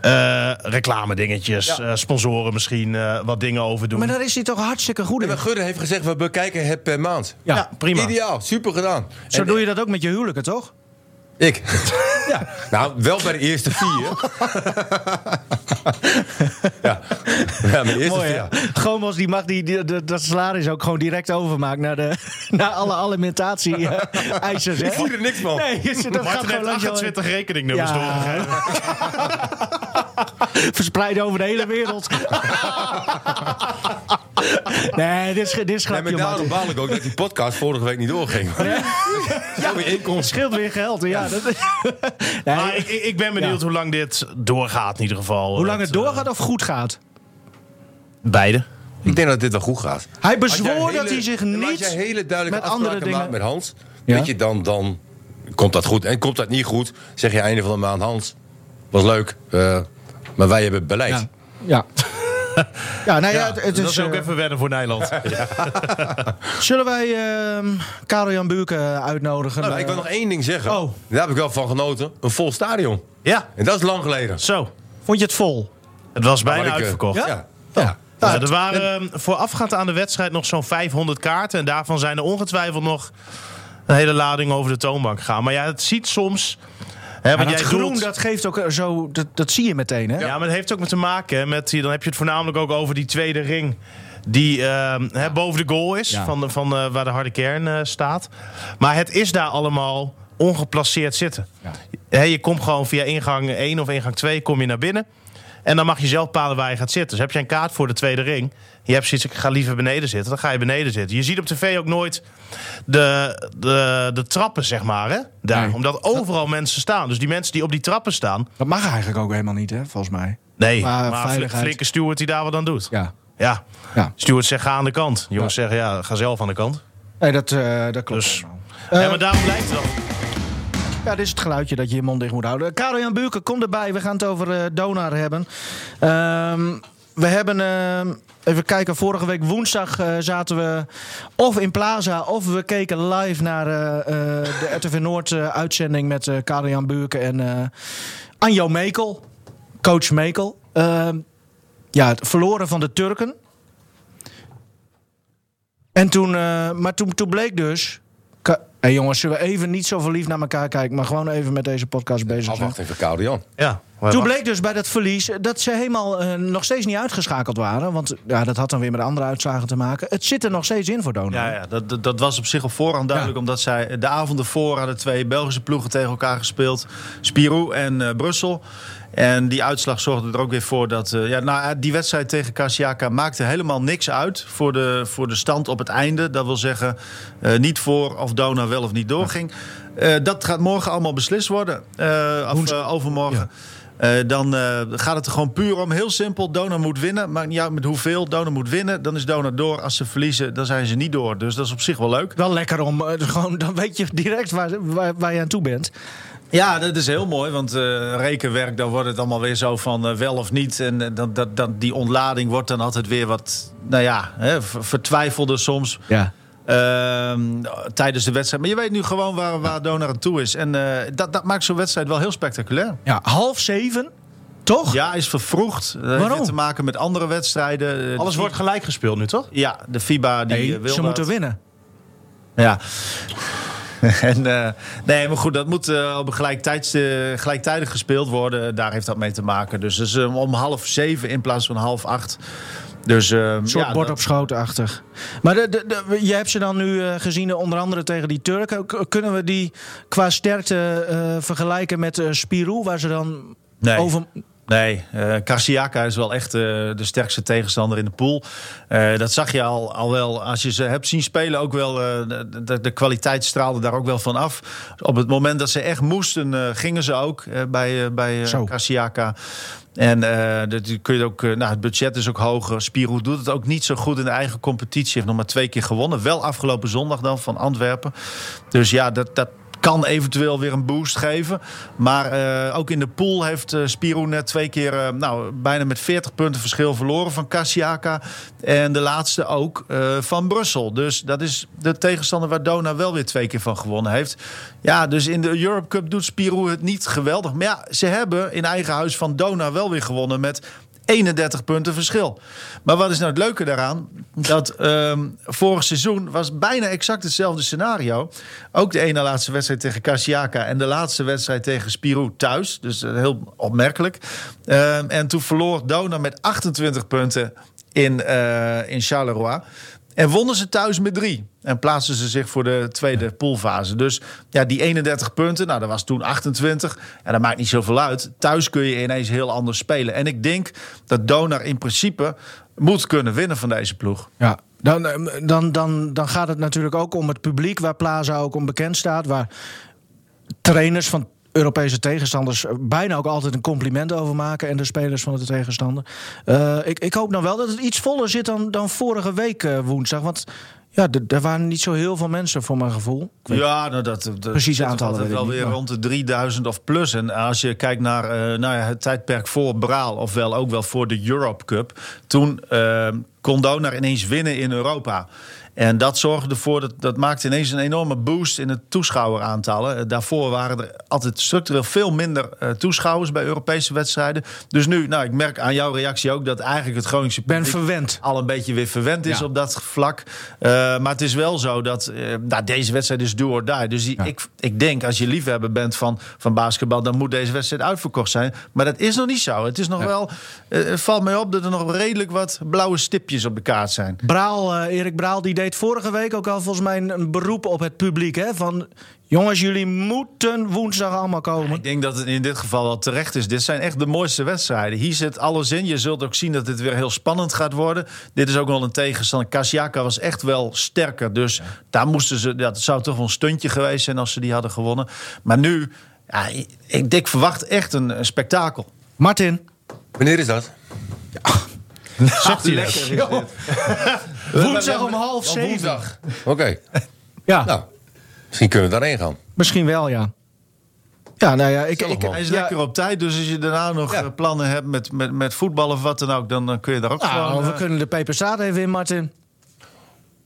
S3: eh reclame dingetjes. sponsoren misschien eh, wat dingen over doen.
S2: Maar daar is hij toch hartstikke goed in.
S4: Maar eh, Gudde heeft gezegd, we bekijken het per maand.
S2: Ja,
S3: ja, prima.
S4: Ideaal, super gedaan.
S2: Zo doe je dat ook met je huwelijken, toch?
S4: Ik. Nou, wel bij de eerste vier. ja. ja, bij de eerste
S2: Mooi,
S4: vier.
S2: hè?
S4: ja.
S2: Gomos die mag die, die- dat- dat salaris ook gewoon direct overmaken naar, de, naar alle alimentatie-eisers.
S4: Ik zie er niks van.
S2: Nee, is- dat gaat
S3: Martin
S2: gewoon
S3: heeft
S2: langs jou
S3: 28 rekeningnummers
S2: Ja.
S3: doorgegeven.
S2: heen. verspreiden over de hele wereld. nee, dit is, ge- dit is
S4: Nee, maar
S2: grapje, Martin.
S4: daarom baal ik ook dat die podcast vorige week niet doorging. Ja, weer
S2: Het
S4: inkomsten.
S2: scheelt weer geld. Ja, Dat, nee,
S3: Maar ik, ik ik ben benieuwd
S2: Ja.
S3: hoe lang dit doorgaat in ieder geval.
S2: hoe lang
S3: Dat,
S4: eh,
S2: het doorgaat of goed gaat.
S3: eh, beide.
S4: Ik denk dat dit wel goed gaat.
S2: Hij
S4: Als jij
S2: bezwoer
S4: hele-
S2: dat hij zich
S4: maar Als jij
S2: niet...
S4: hele duidelijke
S2: met
S4: met
S2: andere
S4: afspraken
S2: dingen-
S4: maakt met Hans,
S2: Ja.
S4: weet je, dan, dan komt dat goed. En komt dat niet goed, zeg je einde van de maand, Hans, was leuk, eh, maar wij hebben beleid.
S2: Ja. Ja. Ja, nou ja, het, het
S3: dat
S2: is,
S3: is ook
S2: eh,
S3: even wennen voor Nederland.
S2: Zullen wij ehm Karel-Jan Buurken uitnodigen?
S4: Nou, ik wil nog één ding zeggen.
S2: Oh.
S4: Daar heb ik wel van genoten. Een vol stadion.
S3: ja,
S4: En dat is lang geleden.
S3: zo.
S2: Vond je het vol?
S3: Het was bijna
S4: Maar ik, eh,
S3: uitverkocht.
S4: Ja. ja. ja.
S3: Ja, er waren eh, voorafgaand aan de wedstrijd nog zo'n 500 kaarten. En daarvan zijn er ongetwijfeld nog een hele lading over de toonbank gegaan. Maar ja, het ziet soms. Hè,
S2: Maar
S3: want
S2: dat
S3: jij
S2: groen,
S3: doelt-
S2: dat geeft ook eh, zo... Dat, dat zie je meteen, hè?
S3: Ja, maar dat heeft ook met te maken. hè, Met, die- dan heb je het voornamelijk ook over die tweede ring. Die ehm, hè, boven de goal is.
S2: Ja.
S3: Van de, van, eh, waar de harde kern eh, staat. Maar het is daar allemaal ongeplaceerd zitten. Hè, je komt gewoon via ingang 1 of ingang 2 kom je naar binnen. En dan mag je zelf bepalen waar je gaat zitten. Dus heb je een kaart voor de tweede ring. Je hebt zoiets, ik ga liever beneden zitten. Dan ga je beneden zitten. Je ziet op tv ook nooit de, de, de trappen, zeg maar. Hè? Daar,
S2: Nee.
S3: Omdat overal mensen staan. Dus die mensen die op die trappen staan,
S2: Dat mag eigenlijk ook helemaal niet, hè? Volgens mij.
S3: Nee,
S2: Maar
S3: maar,
S2: veiligheid.
S3: fl- flinke Stuart die daar wat aan doet. Ja.
S2: Ja. Ja.
S3: Stuart zegt ga aan de kant. Jongens zeggen ja, ga zelf aan de kant.
S2: Nee, dat, eh, dat klopt.
S3: Dus-
S2: helemaal.
S3: ja, maar daarom lijkt het al.
S2: Ja, dit is het geluidje dat je je mond dicht moet houden. Karel-Jan Buurken, kom erbij. We gaan het over eh, Donar hebben. Ehm, we hebben... ehm, Even kijken, vorige week woensdag eh, zaten we of in Plaza of we keken live naar eh, eh, de RTV Noord-uitzending met eh Karel-Jan Buurken en eh, Anjo Mekel, coach Mekel. Ehm, ja, het verloren van de Turken. En toen, eh, maar toen, toen bleek dus. Ka- Hé jongens, zullen we even niet zo verliefd naar elkaar kijken, maar gewoon even met deze podcast bezig zijn.
S4: Afwachting van Karel Jan.
S3: Ja, maar
S2: Toen
S3: wacht.
S2: bleek dus bij dat verlies dat ze helemaal eh, nog steeds niet uitgeschakeld waren. Want ja, dat had dan weer met andere uitslagen te maken. Het zit er nog steeds in voor Donald.
S6: Ja, ja dat, dat, dat was op zich op voorhand duidelijk. Omdat zij de avond ervoor hadden twee Belgische ploegen tegen elkaar gespeeld. Spirou en eh, Brussel. En die uitslag zorgde er ook weer voor dat... eh, ja, nou, eh, die wedstrijd tegen Kasiaka maakte helemaal niks uit voor de, voor de stand op het einde. Dat wil zeggen, eh, niet voor of Dona wel of niet doorging. Eh, dat gaat morgen allemaal beslist worden. Eh, of eh, overmorgen. Eh, dan eh, gaat het er gewoon puur om. Heel simpel, Dona moet winnen. Maakt niet uit met hoeveel. Dona moet winnen. Dan is Dona door. Als ze verliezen, dan zijn ze niet door. Dus dat is op zich wel leuk.
S2: Wel lekker om, eh, gewoon, dan weet je direct waar, waar, waar je aan toe bent.
S6: Ja, dat is heel mooi. Want eh, rekenwerk, dan wordt het allemaal weer zo van eh, wel of niet. En eh, dat, dat, dat, die ontlading wordt dan altijd weer wat, nou ja, hè, ver- vertwijfelder soms.
S2: Ja.
S6: Ehm, tijdens de wedstrijd. Maar je weet nu gewoon waar, waar Dona aan toe is. En eh, dat, dat maakt zo'n wedstrijd wel heel spectaculair.
S2: ja. Half zeven, toch?
S6: Ja, hij is vervroegd. Dat heeft
S2: Waarom?
S6: weer te maken met andere wedstrijden. Eh, de
S3: Alles
S6: fi-
S3: wordt gelijk gespeeld nu, toch?
S6: Ja, de FIBA die
S2: Nee,
S6: eh, wil
S2: ze
S6: dat.
S2: moeten winnen.
S6: Ja. en, eh, nee, maar goed, dat moet eh, op een gelijktijds, eh, gelijktijdig gespeeld worden. Daar heeft dat mee te maken. Dus het is eh, om half zeven in plaats van half acht. Dus, eh,
S2: Een soort
S6: ja,
S2: bord
S6: dat-
S2: op schootachtig. Maar de, de, de- je hebt ze dan nu eh, gezien, eh, onder andere tegen die Turken. K- kunnen we die qua sterkte eh, vergelijken met eh, Spirou, waar ze dan
S6: Nee.
S2: over.
S6: Nee, eh Karsiaka is wel echt eh, de sterkste tegenstander in de pool. Eh, dat zag je al, al wel als je ze hebt zien spelen. Ook wel, eh, de, de, de kwaliteit straalde daar ook wel van af. Op het moment dat ze echt moesten, eh, gingen ze ook eh, bij, eh bij eh,
S2: Zo.
S6: Karsiaka. En eh, dat die kun je ook, eh, nou, het budget is ook hoger. Spirou doet het ook niet zo goed in de eigen competitie. Heeft nog maar twee keer gewonnen. Wel afgelopen zondag dan van Antwerpen. Dus ja, dat, dat kan eventueel weer een boost geven. Maar eh, ook in de pool heeft eh Spirou net twee keer... eh, nou, bijna met 40 punten verschil verloren van Kassiaka. En de laatste ook eh, van Brussel. Dus dat is de tegenstander waar Dona wel weer twee keer van gewonnen heeft. Ja, dus in de Europe Cup doet Spirou het niet geweldig. Maar ja, ze hebben in eigen huis van Dona wel weer gewonnen met... 31 punten verschil. Maar wat is nou het leuke daaraan? Dat ehm, vorig seizoen was bijna exact hetzelfde scenario. Ook de ene laatste wedstrijd tegen Kasiaka en de laatste wedstrijd tegen Spirou thuis. Dus eh, heel opmerkelijk. Ehm, en toen verloor Dona met 28 punten in, eh, in Charleroi. En wonnen ze thuis met drie. En plaatsten ze zich voor de tweede poolfase. Dus ja, die 31 punten, nou, dat was toen 28. En dat maakt niet zoveel uit. Thuis kun je ineens heel anders spelen. En ik denk dat Donar in principe moet kunnen winnen van deze ploeg.
S2: Ja, dan, eh, dan, dan, dan gaat het natuurlijk ook om het publiek waar Plaza ook onbekend staat. Waar trainers van Europese tegenstanders eh, bijna ook altijd een compliment over maken. En de spelers van de tegenstander. Eh, ik, ik hoop nou wel dat het iets voller zit dan, dan vorige week eh, woensdag. Want ja, d- er waren niet zo heel veel mensen voor mijn gevoel.
S6: Ja, nou dat, dat
S2: Precieze
S6: zit
S2: aantallen
S6: altijd
S2: weet ik
S6: wel
S2: niet,
S6: weer
S2: maar-
S6: rond de 3000 of plus. En als je kijkt naar eh, nou ja, het tijdperk voor Braal, ofwel ook wel voor de Europe Cup, toen eh, kon Donar ineens winnen in Europa. En dat zorgde ervoor, dat, dat maakte ineens een enorme boost in het toeschouweraantallen. Eh, Daarvoor waren er altijd structureel veel minder eh, toeschouwers bij Europese wedstrijden. Dus nu, nou, ik merk aan jouw reactie ook dat eigenlijk het Groningse
S2: Ik ben
S6: publiek-
S2: verwend.
S6: al een beetje weer verwend is
S2: Ja.
S6: op dat vlak. Eh, maar het is wel zo dat eh, nou, deze wedstrijd is do or die. Dus die- ik, ik denk als je liefhebber bent van, van basketbal... dan moet deze wedstrijd uitverkocht zijn. Maar dat is nog niet zo. Het is nog wel, eh, het valt mij op dat er nog redelijk wat blauwe stipjes op de kaart zijn.
S2: Braal, eh, Erik Braal, die deed vorige week ook al volgens mij een, een beroep op het publiek. Hè? Van jongens, jullie moeten woensdag allemaal komen.
S6: Ik denk dat het in dit geval wel terecht is. Dit zijn echt de mooiste wedstrijden. Hier zit alles in. Je zult ook zien dat dit weer heel spannend gaat worden. Dit is ook wel een tegenstander. Kasiaka was echt wel sterker. Dus daar moesten ze. Dat zou toch wel een stuntje geweest zijn als ze die hadden gewonnen. Maar nu, ja, ik, ik verwacht echt een, een spektakel.
S2: Martin,
S4: Wanneer is dat?
S6: Zegt u Ah, lekker. is dit.
S2: woensdag om half
S4: Op
S2: zeven.
S4: woensdag. Oké,
S2: Ja.
S4: nou. Misschien kunnen we daarheen gaan.
S2: Misschien wel, ja. Ja, nou ja, ik,
S4: Zelf
S2: ik,
S4: wel.
S6: Hij is
S2: ja,
S6: lekker op tijd, dus als je daarna nog
S4: Ja.
S6: eh, plannen hebt met, met, met voetbal of wat dan ook, dan, dan kun je daar ook
S2: nou,
S6: gewoon...
S2: we
S6: eh,
S2: kunnen de peperstaat even in, Martin.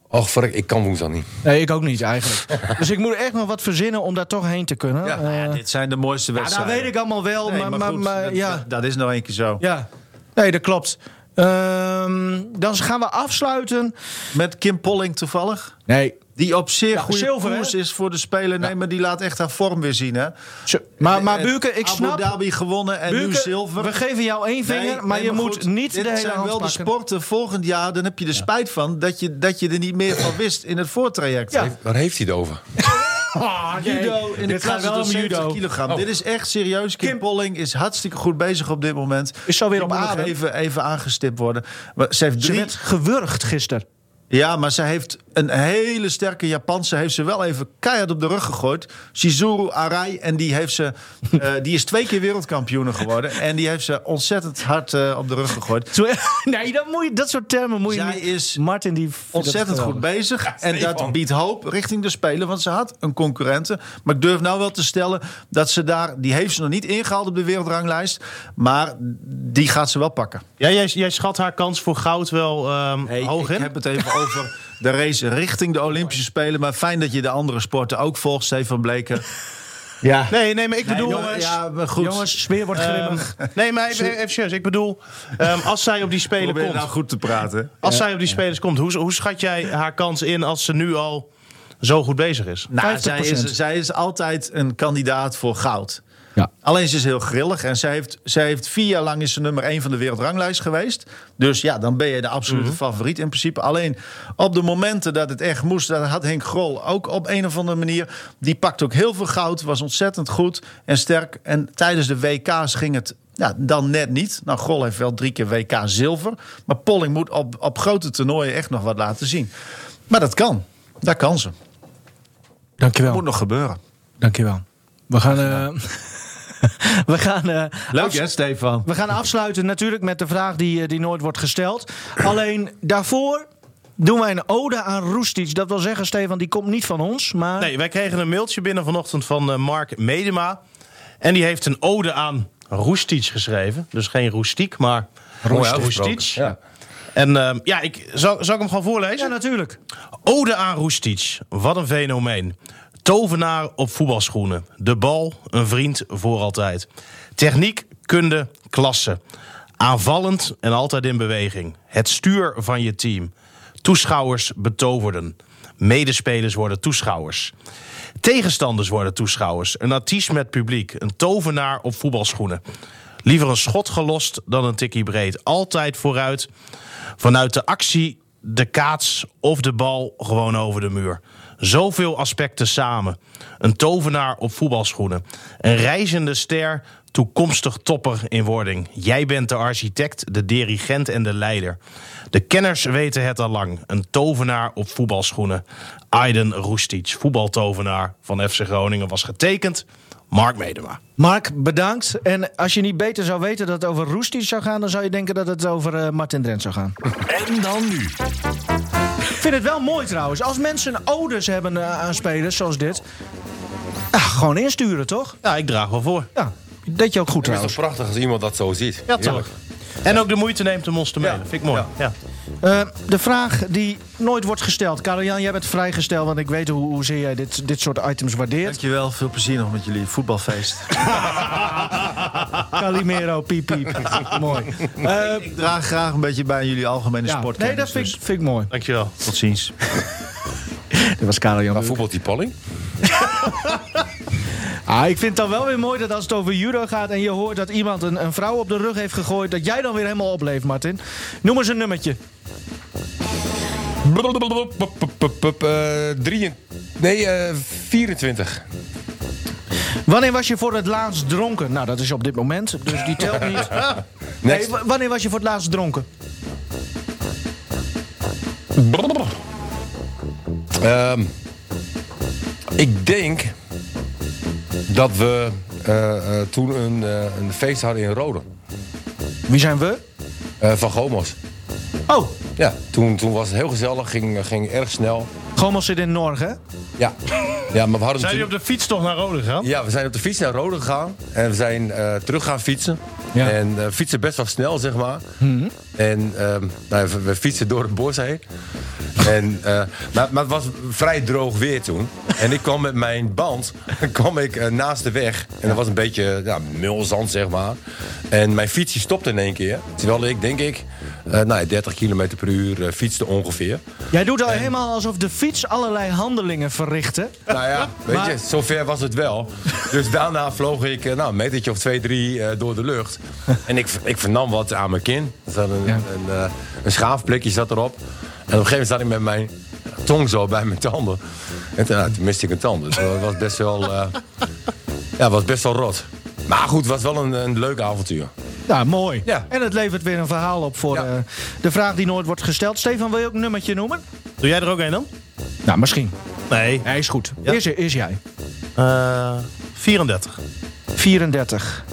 S4: Och, verrek, ik kan woensdag niet.
S2: Nee, ik ook niet eigenlijk. dus ik moet echt nog wat verzinnen om daar toch heen te kunnen.
S4: Ja.
S2: Eh,
S4: Nou
S6: dit zijn de mooiste
S2: ja, dat
S6: wedstrijden.
S2: weet ik allemaal wel,
S6: Nee,
S2: maar, maar,
S6: goed,
S2: maar,
S6: dat,
S2: ja.
S6: dat, dat is nou een keer zo.
S2: ja. Nee, dat klopt. Ehm, dan gaan we afsluiten.
S6: Met Kim Polling toevallig.
S2: Nee.
S6: Die op zeer goede
S2: zilver,
S6: koers
S2: hè?
S6: is voor de speler. Nee, maar die laat echt haar vorm weer zien. Hè?
S2: Maar, maar
S6: Eh,
S2: Buurke, ik
S6: Abu
S2: snap...
S6: Dhabi gewonnen en nu
S2: Buurke,
S6: zilver.
S2: we geven jou één
S6: Nee,
S2: vinger, maar
S6: nee,
S2: je moet
S6: goed,
S2: niet de
S6: dit
S2: hele
S6: zijn
S2: hand
S6: wel
S2: pakken.
S6: de sporten. Volgend jaar, dan heb je er spijt van dat je, dat je er niet meer van wist in het voortraject.
S2: Ja.
S4: Waar heeft hij het over?
S2: Ah, nee.
S6: Judo in de
S2: Dit gaat
S6: klasse
S2: wel om
S6: tot 70
S2: judo. Oh.
S6: kilogram. Dit is echt serieus. Kim,
S2: Kim-
S6: Polling is hartstikke goed bezig op dit moment.
S2: Is zo weer
S6: Die
S2: op
S6: moet nog
S2: adem.
S6: even, even aangestipt worden. Maar Ze heeft
S2: Ze
S6: drie
S2: Dus werd gewurgd gisteren.
S6: Ja, maar ze heeft een hele sterke Japanse. Heeft ze wel even keihard op de rug gegooid. Shizuru Arai. En die, heeft ze, eh, die is twee keer wereldkampioene geworden. En die heeft ze ontzettend hard eh, op de rug gegooid.
S2: Zo- Nee, dat, moet je, dat soort termen moet je
S6: Zij
S2: niet...
S6: is
S2: Martin die vindt dat
S6: Ontzettend goed
S2: geweldig.
S6: bezig. en dat biedt hoop richting de Spelen. Want ze had een concurrente. Maar ik durf nou wel te stellen dat ze daar. Die heeft ze nog niet ingehaald op de wereldranglijst. Maar die gaat ze wel pakken.
S3: Ja, jij, jij schat haar kans voor goud wel ehm, hoog
S6: ik
S3: in.
S6: heb het even over de race richting de Olympische Spelen. Maar fijn dat je de andere sporten ook volgt, Stefan Bleken. Ja.
S3: Nee, nee, maar ik bedoel... eh,
S6: jongens, ja, maar goed.
S2: Jongens, sfeer
S6: Eh,
S2: wordt grimmig.
S3: Ehm, nee, maar even, even serieus. Ik bedoel, ehm, als zij op die spelen
S6: probeer
S3: komt...
S6: nou goed te praten.
S3: Als zij op die spelers komt, hoe, hoe schat jij haar kans in als ze nu al zo goed bezig is?
S6: Nou,
S2: 50%.
S6: zij is, zij is altijd een kandidaat voor goud.
S2: Ja.
S6: Alleen ze is heel grillig en zij heeft, zij heeft vier jaar lang is ze nummer één van de wereldranglijst geweest. Dus ja, dan ben je de absolute favoriet in principe. Alleen op de momenten dat het echt moest, dat had Henk Grol ook op een of andere manier. Die pakt ook heel veel goud, was ontzettend goed en sterk. En tijdens de WK's ging het ja, dan net niet. Nou, Grol heeft wel drie keer WK zilver. Maar Polling moet op, op grote toernooien echt nog wat laten zien. Maar dat kan. Dat kan ze.
S2: Dankjewel,
S6: Moet nog gebeuren.
S2: dankjewel. We gaan... eh, we gaan... eh,
S6: Leuk
S2: afs-
S6: hè, Stefan?
S2: We gaan afsluiten natuurlijk met de vraag die, eh, die nooit wordt gesteld. Alleen daarvoor doen wij een ode aan Roestic. Dat wil zeggen, Stefan, die komt niet van ons. Maar
S3: Nee, wij kregen een mailtje binnen vanochtend van eh, Mark Medema. En die heeft een ode aan Roestic geschreven. Dus geen roestiek, maar
S4: Mooi
S3: Roestic.
S4: uitgesproken. Ja.
S3: En ehm, ja, ik, zal, zal ik hem gewoon voorlezen?
S2: ja, natuurlijk.
S3: Ode aan Roestic. Wat een fenomeen. Tovenaar op voetbalschoenen. De bal, een vriend voor altijd. Techniek, kunde, klasse. Aanvallend en altijd in beweging. Het stuur van je team. Toeschouwers betoverden. Medespelers worden toeschouwers. Tegenstanders worden toeschouwers. Een artiest met publiek. Een tovenaar op voetbalschoenen. Liever een schot gelost dan een tikkie breed. Altijd vooruit. Vanuit de actie, de kaats of de bal gewoon over de muur. Zoveel aspecten samen. Een tovenaar op voetbalschoenen. Een reizende ster, toekomstig topper in wording. Jij bent de architect, de dirigent en de leider. De kenners weten het al lang. Een tovenaar op voetbalschoenen. Aiden Roestic, voetbaltovenaar van FC Groningen, was getekend. Mark Medema.
S2: Mark, bedankt. En als je niet beter zou weten dat het over Roestic zou gaan... dan zou je denken dat het over eh, Martin Drent zou gaan.
S1: En dan nu.
S2: Ik vind het wel mooi trouwens. Als mensen odes hebben eh, aan spelers zoals dit... ah, gewoon insturen, toch?
S3: Ja, ik draag wel voor.
S2: Ja, dat je ook goed
S4: Het is toch
S2: trouwens.
S4: prachtig als iemand dat zo ziet.
S3: Ja, toch.
S4: Heerlijk.
S3: En ook de moeite neemt om ons te mailen.
S4: Ja.
S3: Vind ik mooi. Ja.
S2: Eh, de vraag die nooit wordt gesteld. Karel-Jan, jij bent vrijgesteld, want ik weet hoe, hoezeer jij dit, dit soort items waardeert.
S6: Dankjewel, veel plezier nog met jullie voetbalfeest.
S2: Calimero, piep, piep. mooi. Eh,
S6: ik draag graag een beetje bij aan jullie algemene
S2: ja.
S6: sportkennis.
S2: Nee, dat vind, ik-
S6: dus
S2: vind ik mooi.
S3: Dankjewel.
S6: Tot ziens.
S2: Dit was Karel-Jan.
S4: Maar voetbalt die Palling?
S2: Ah, ik vind het dan wel weer mooi dat als het over judo gaat en je hoort dat iemand een, een vrouw op de rug heeft gegooid, dat jij dan weer helemaal opleeft, Martin. Noem eens een nummertje.
S4: Eh, drieën- Nee, eh, 24.
S2: Wanneer was je voor het laatst dronken? Nou, dat is op dit moment, dus die telt niet. Hey,
S4: Next.
S2: w- wanneer was je voor het laatst dronken?
S4: Ehm, ik denk dat we eh, eh, toen een, eh, een feest hadden in Rode.
S2: Wie zijn we?
S4: Eh, van Gomos.
S2: Oh,
S4: Ja, toen, toen was het heel gezellig, ging, ging erg snel.
S2: Gomos zit in Norg, hè?
S4: Ja, ja maar we hadden
S3: Zijn
S4: toen-
S3: jullie op de fiets toch naar Rode gegaan?
S4: Ja, we zijn op de fiets naar Rode gegaan. En we zijn eh, terug gaan fietsen.
S2: Ja.
S4: En eh, fietsen best wel snel, zeg maar. En ehm, nou, we, we fietsen door het bos heen. En, eh, maar, maar het was vrij droog weer toen. En ik kwam met mijn band kwam ik, eh, naast de weg. En dat was een beetje ja, mulzand, zeg maar. En mijn fiets die stopte in één keer. Terwijl ik, denk ik, eh, nou, ja, 30 km per uur eh, fietste ongeveer.
S2: Jij doet al helemaal alsof de fiets allerlei handelingen verrichtte.
S4: Nou ja, weet
S2: Maar-
S4: je, zover was het wel. Dus daarna vloog ik eh, nou, een metertje of twee, drie eh, door de lucht. En ik, ik vernam wat aan mijn kin. Er zat een, een, eh, een schaafblikje zat erop. En op een gegeven moment zat ik met mijn tong zo bij mijn tanden. En toen, nou, toen miste ik een tand. Dus dat was best wel, eh, ja, was best wel rot. Maar goed, het was wel een, een leuk avontuur.
S2: Ja, Nou, mooi.
S4: Ja.
S2: En het levert weer een verhaal op voor
S4: Ja.
S2: eh, de vraag die nooit wordt gesteld. Stefan, wil je ook een nummertje noemen?
S3: Doe jij er ook een dan?
S2: Nou, misschien.
S3: Nee.
S2: Hij is goed. Is, is jij.
S3: Eh 34.
S2: 34.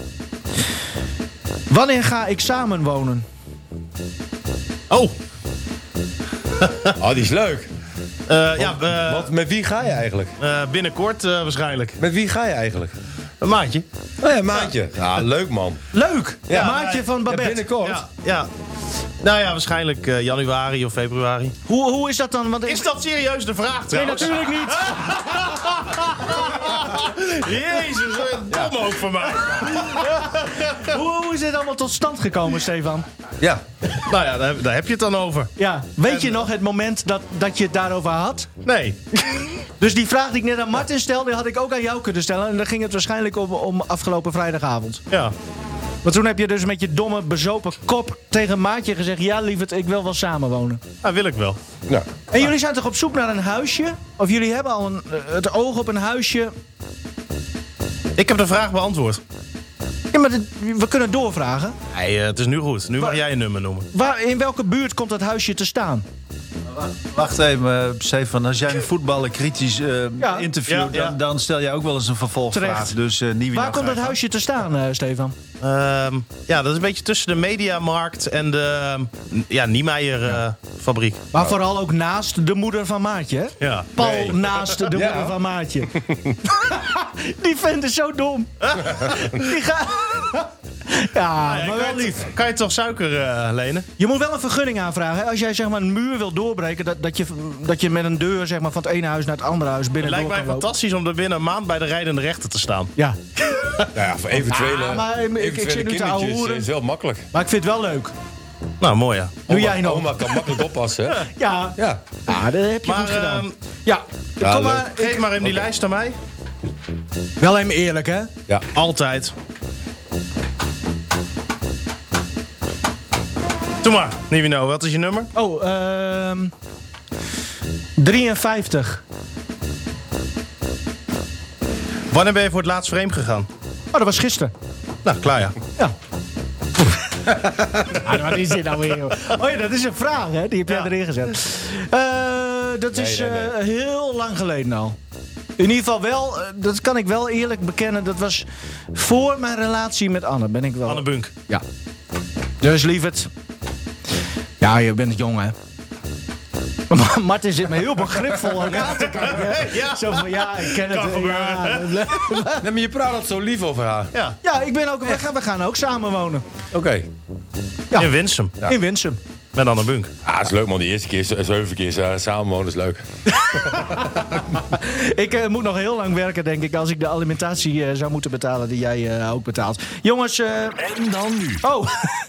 S2: Wanneer ga ik samenwonen?
S3: Oh,
S4: Oh, die is leuk.
S3: eh, ja, eh,
S4: Want met wie ga je eigenlijk?
S3: eh, binnenkort eh, waarschijnlijk.
S4: Met wie ga je eigenlijk?
S3: Een maandje.
S4: Oh ja, maatje. Ja, leuk man.
S2: Leuk!
S4: Ja.
S2: Maatje van
S4: Ja,
S2: Babette.
S4: binnenkort.
S3: Ja, ja. Nou ja, waarschijnlijk eh, januari of februari.
S2: Hoe, hoe is dat dan? Want
S3: Is dat serieus de vraag
S2: Nee,
S3: trouwens?
S2: natuurlijk niet.
S3: Jezus, wat een dom ook van mij.
S2: Hoe, hoe is dit allemaal tot stand gekomen, Stefan?
S4: Ja.
S3: nou ja, daar, heb- daar heb je het dan over.
S2: Ja, weet je nog het moment dat, dat je het daarover had?
S3: Nee.
S2: Dus die vraag die ik net aan Martin stelde, had ik ook aan jou kunnen stellen. En dan ging het waarschijnlijk om, om afgelopen vrijdagavond.
S3: Ja.
S2: Want toen heb je dus met je domme, bezopen kop tegen Maatje gezegd... ja, lieverd, ik wil wel samenwonen.
S3: Dat wil ik wel.
S4: Nou,
S2: En jullie zijn toch op zoek naar een huisje? Of jullie hebben al een, eh, het oog op een huisje?
S3: Ik heb de vraag beantwoord.
S2: Ja, maar dit- we kunnen doorvragen.
S3: Nee, eh, het is nu goed. Nu mag
S2: Wa-
S3: jij een nummer noemen.
S2: Waar, in welke buurt komt dat huisje te staan?
S6: Wacht even, eh, Stefan. Als jij een voetballer kritisch eh,
S2: Ja.
S6: interviewt,
S3: Ja, ja.
S6: Dan, dan stel jij ook wel eens een vervolgvraag.
S2: Terecht.
S6: Dus eh niet
S3: nou
S2: Waar komt dat huisje te staan, eh, Stefan?
S3: Ehm, ja, dat is een beetje tussen de mediamarkt en de ehm, ja, Niemeyer-fabriek.
S2: Maar vooral ook naast de moeder van Maatje. hè?
S3: ja.
S2: Paul
S4: Nee.
S2: naast de moeder van Maatje. die vent is zo dom. die gaat... ja, maar wel lief.
S3: Kan je toch suiker eh, lenen?
S2: Je moet wel een vergunning aanvragen. hè? Als jij zeg maar, een muur wil doorbreken, dat, dat, je, dat je met een deur zeg maar, van het ene huis naar het andere huis binnen
S3: Het lijkt mij
S2: kan lopen.
S3: fantastisch om er binnen een maand bij de rijdende rechter te staan.
S2: Ja,
S4: Nou ja, voor eventuele,
S2: Ah, maar ik- ik- ik
S4: eventuele
S2: zit nu te ouwe
S4: kindertjes
S2: hoeren.
S4: is wel makkelijk.
S2: maar ik vind het wel leuk.
S3: Nou, mooi ja.
S2: Doe
S4: Oma-
S2: jij nog?
S4: Oma kan makkelijk oppassen. hè?
S2: Ja,
S4: Ja.
S2: Ah, dat heb je
S3: Maar,
S2: goed gedaan.
S3: ehm,
S2: ja,
S4: Ja,
S2: kom
S4: leuk.
S2: maar.
S3: Geef maar hem die lijst aan mij.
S2: Wel even eerlijk, hè?
S4: ja.
S3: Altijd. Doe maar, Nivino, wat is je nummer?
S2: Oh, ehm 53.
S3: Wanneer ben je voor het laatst vreemd gegaan?
S2: Oh, dat was gisteren.
S3: Nou, klaar ja.
S2: Ja. ah, wat is dit nou weer? joh? Oh ja, dat is een vraag, hè? Die heb jij erin gezet. Eh, dat is
S4: nee, nee.
S2: eh, heel lang geleden al. In ieder geval wel, eh, dat kan ik wel eerlijk bekennen. Dat was voor mijn relatie met Anne. Ben ik wel.
S3: Anne Bunk.
S2: Ja. Dus lieverd. Ja, je bent jong, hè? Maar Martin zit me heel begripvol aan aan te kijken. hè? Zo van, ja, ik ken
S3: Kan
S2: het. Ja,
S4: Nee, maar je praat altijd zo lief over haar.
S3: Ja.
S2: ja, ik ben ook... We gaan, we gaan ook samen wonen.
S4: Oké.
S2: Ja.
S3: In Winsum.
S2: In Winsum.
S3: Met Anne Bunk.
S4: Ah, het is leuk man, die eerste keer, ze- zeven keer eh, samenwonen is leuk.
S2: Ik eh, moet nog heel lang werken, denk ik, als ik de alimentatie eh, zou moeten betalen die jij eh, ook betaalt. Jongens, eh,
S1: En dan nu.
S2: oh,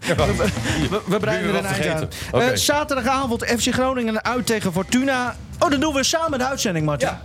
S2: we, we breiden er een
S4: Buren wat
S2: eind aan.
S4: vergeten. Oké.
S2: Eh, zaterdagavond FC Groningen uit tegen Fortuna. Oh, dan doen we samen de uitzending, Martin.
S4: Ja.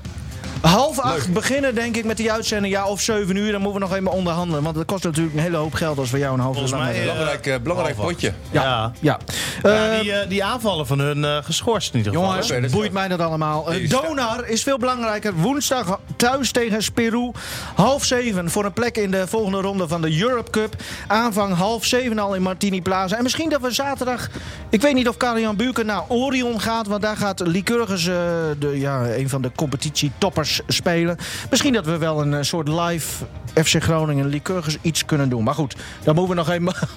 S2: Half acht beginnen, denk ik, met die uitzending. Ja, of zeven uur, dan moeten we nog even onderhandelen. Want dat kost natuurlijk een hele hoop geld als we jou een half uur
S3: Volgens
S2: lang
S3: mij,
S2: hebben.
S3: eh,
S4: Belangrijk, eh, belangrijk potje.
S2: Ja.
S3: ja.
S2: Ja.
S3: Ja,
S2: Eh,
S3: die, eh, die aanvallen van hun eh, geschorst in ieder geval.
S2: Jongens,
S4: Oké, dat is
S2: boeit
S4: wel-
S2: mij dat allemaal. Eh,
S4: Die is-
S2: Donar is veel belangrijker. Woensdag thuis tegen Peru. Half zeven voor een plek in de volgende ronde van de Europe Cup. Aanvang half zeven al in Martini Plaza. En misschien dat we zaterdag... Ik weet niet of Kalian Buurken naar Orion gaat. Want daar gaat Lycurgus, eh, de, ja, een van de competitietoppers, spelen. Misschien dat we wel een eh, soort live... FC Groningen Lycurgus iets kunnen doen. Maar goed, daar moeten we nog even...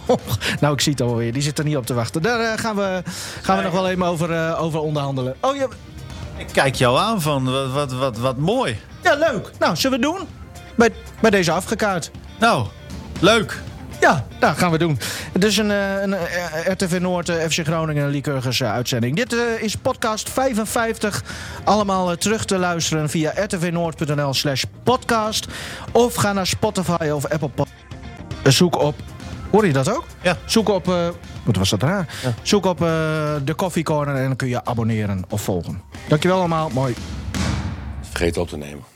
S2: nou, ik zie het alweer. Die zit er niet op te wachten. Daar eh, gaan we, gaan we nog wel even over, eh, over onderhandelen. Oh, ja,
S6: Ik kijk jou aan van wat, wat, wat, wat mooi.
S2: ja, leuk. Nou, zullen we het doen? Bij, bij deze afgekaart.
S6: Nou, leuk.
S2: Ja, dat gaan we doen. Het is een, eh, een eh, RTV Noord, eh, FC Groningen, Lycurgus eh, uitzending. Dit eh, is podcast 55. Allemaal eh, terug te luisteren via rtvnoord.nl slash podcast. Of ga naar Spotify of Apple Pod. Eh, Zoek op... Hoor je dat ook?
S3: Ja.
S2: Zoek op... eh, wat was dat raar? Zoek op eh, de Coffee Corner en dan kun je abonneren of volgen. Dankjewel allemaal. Mooi.
S4: Vergeet op te nemen.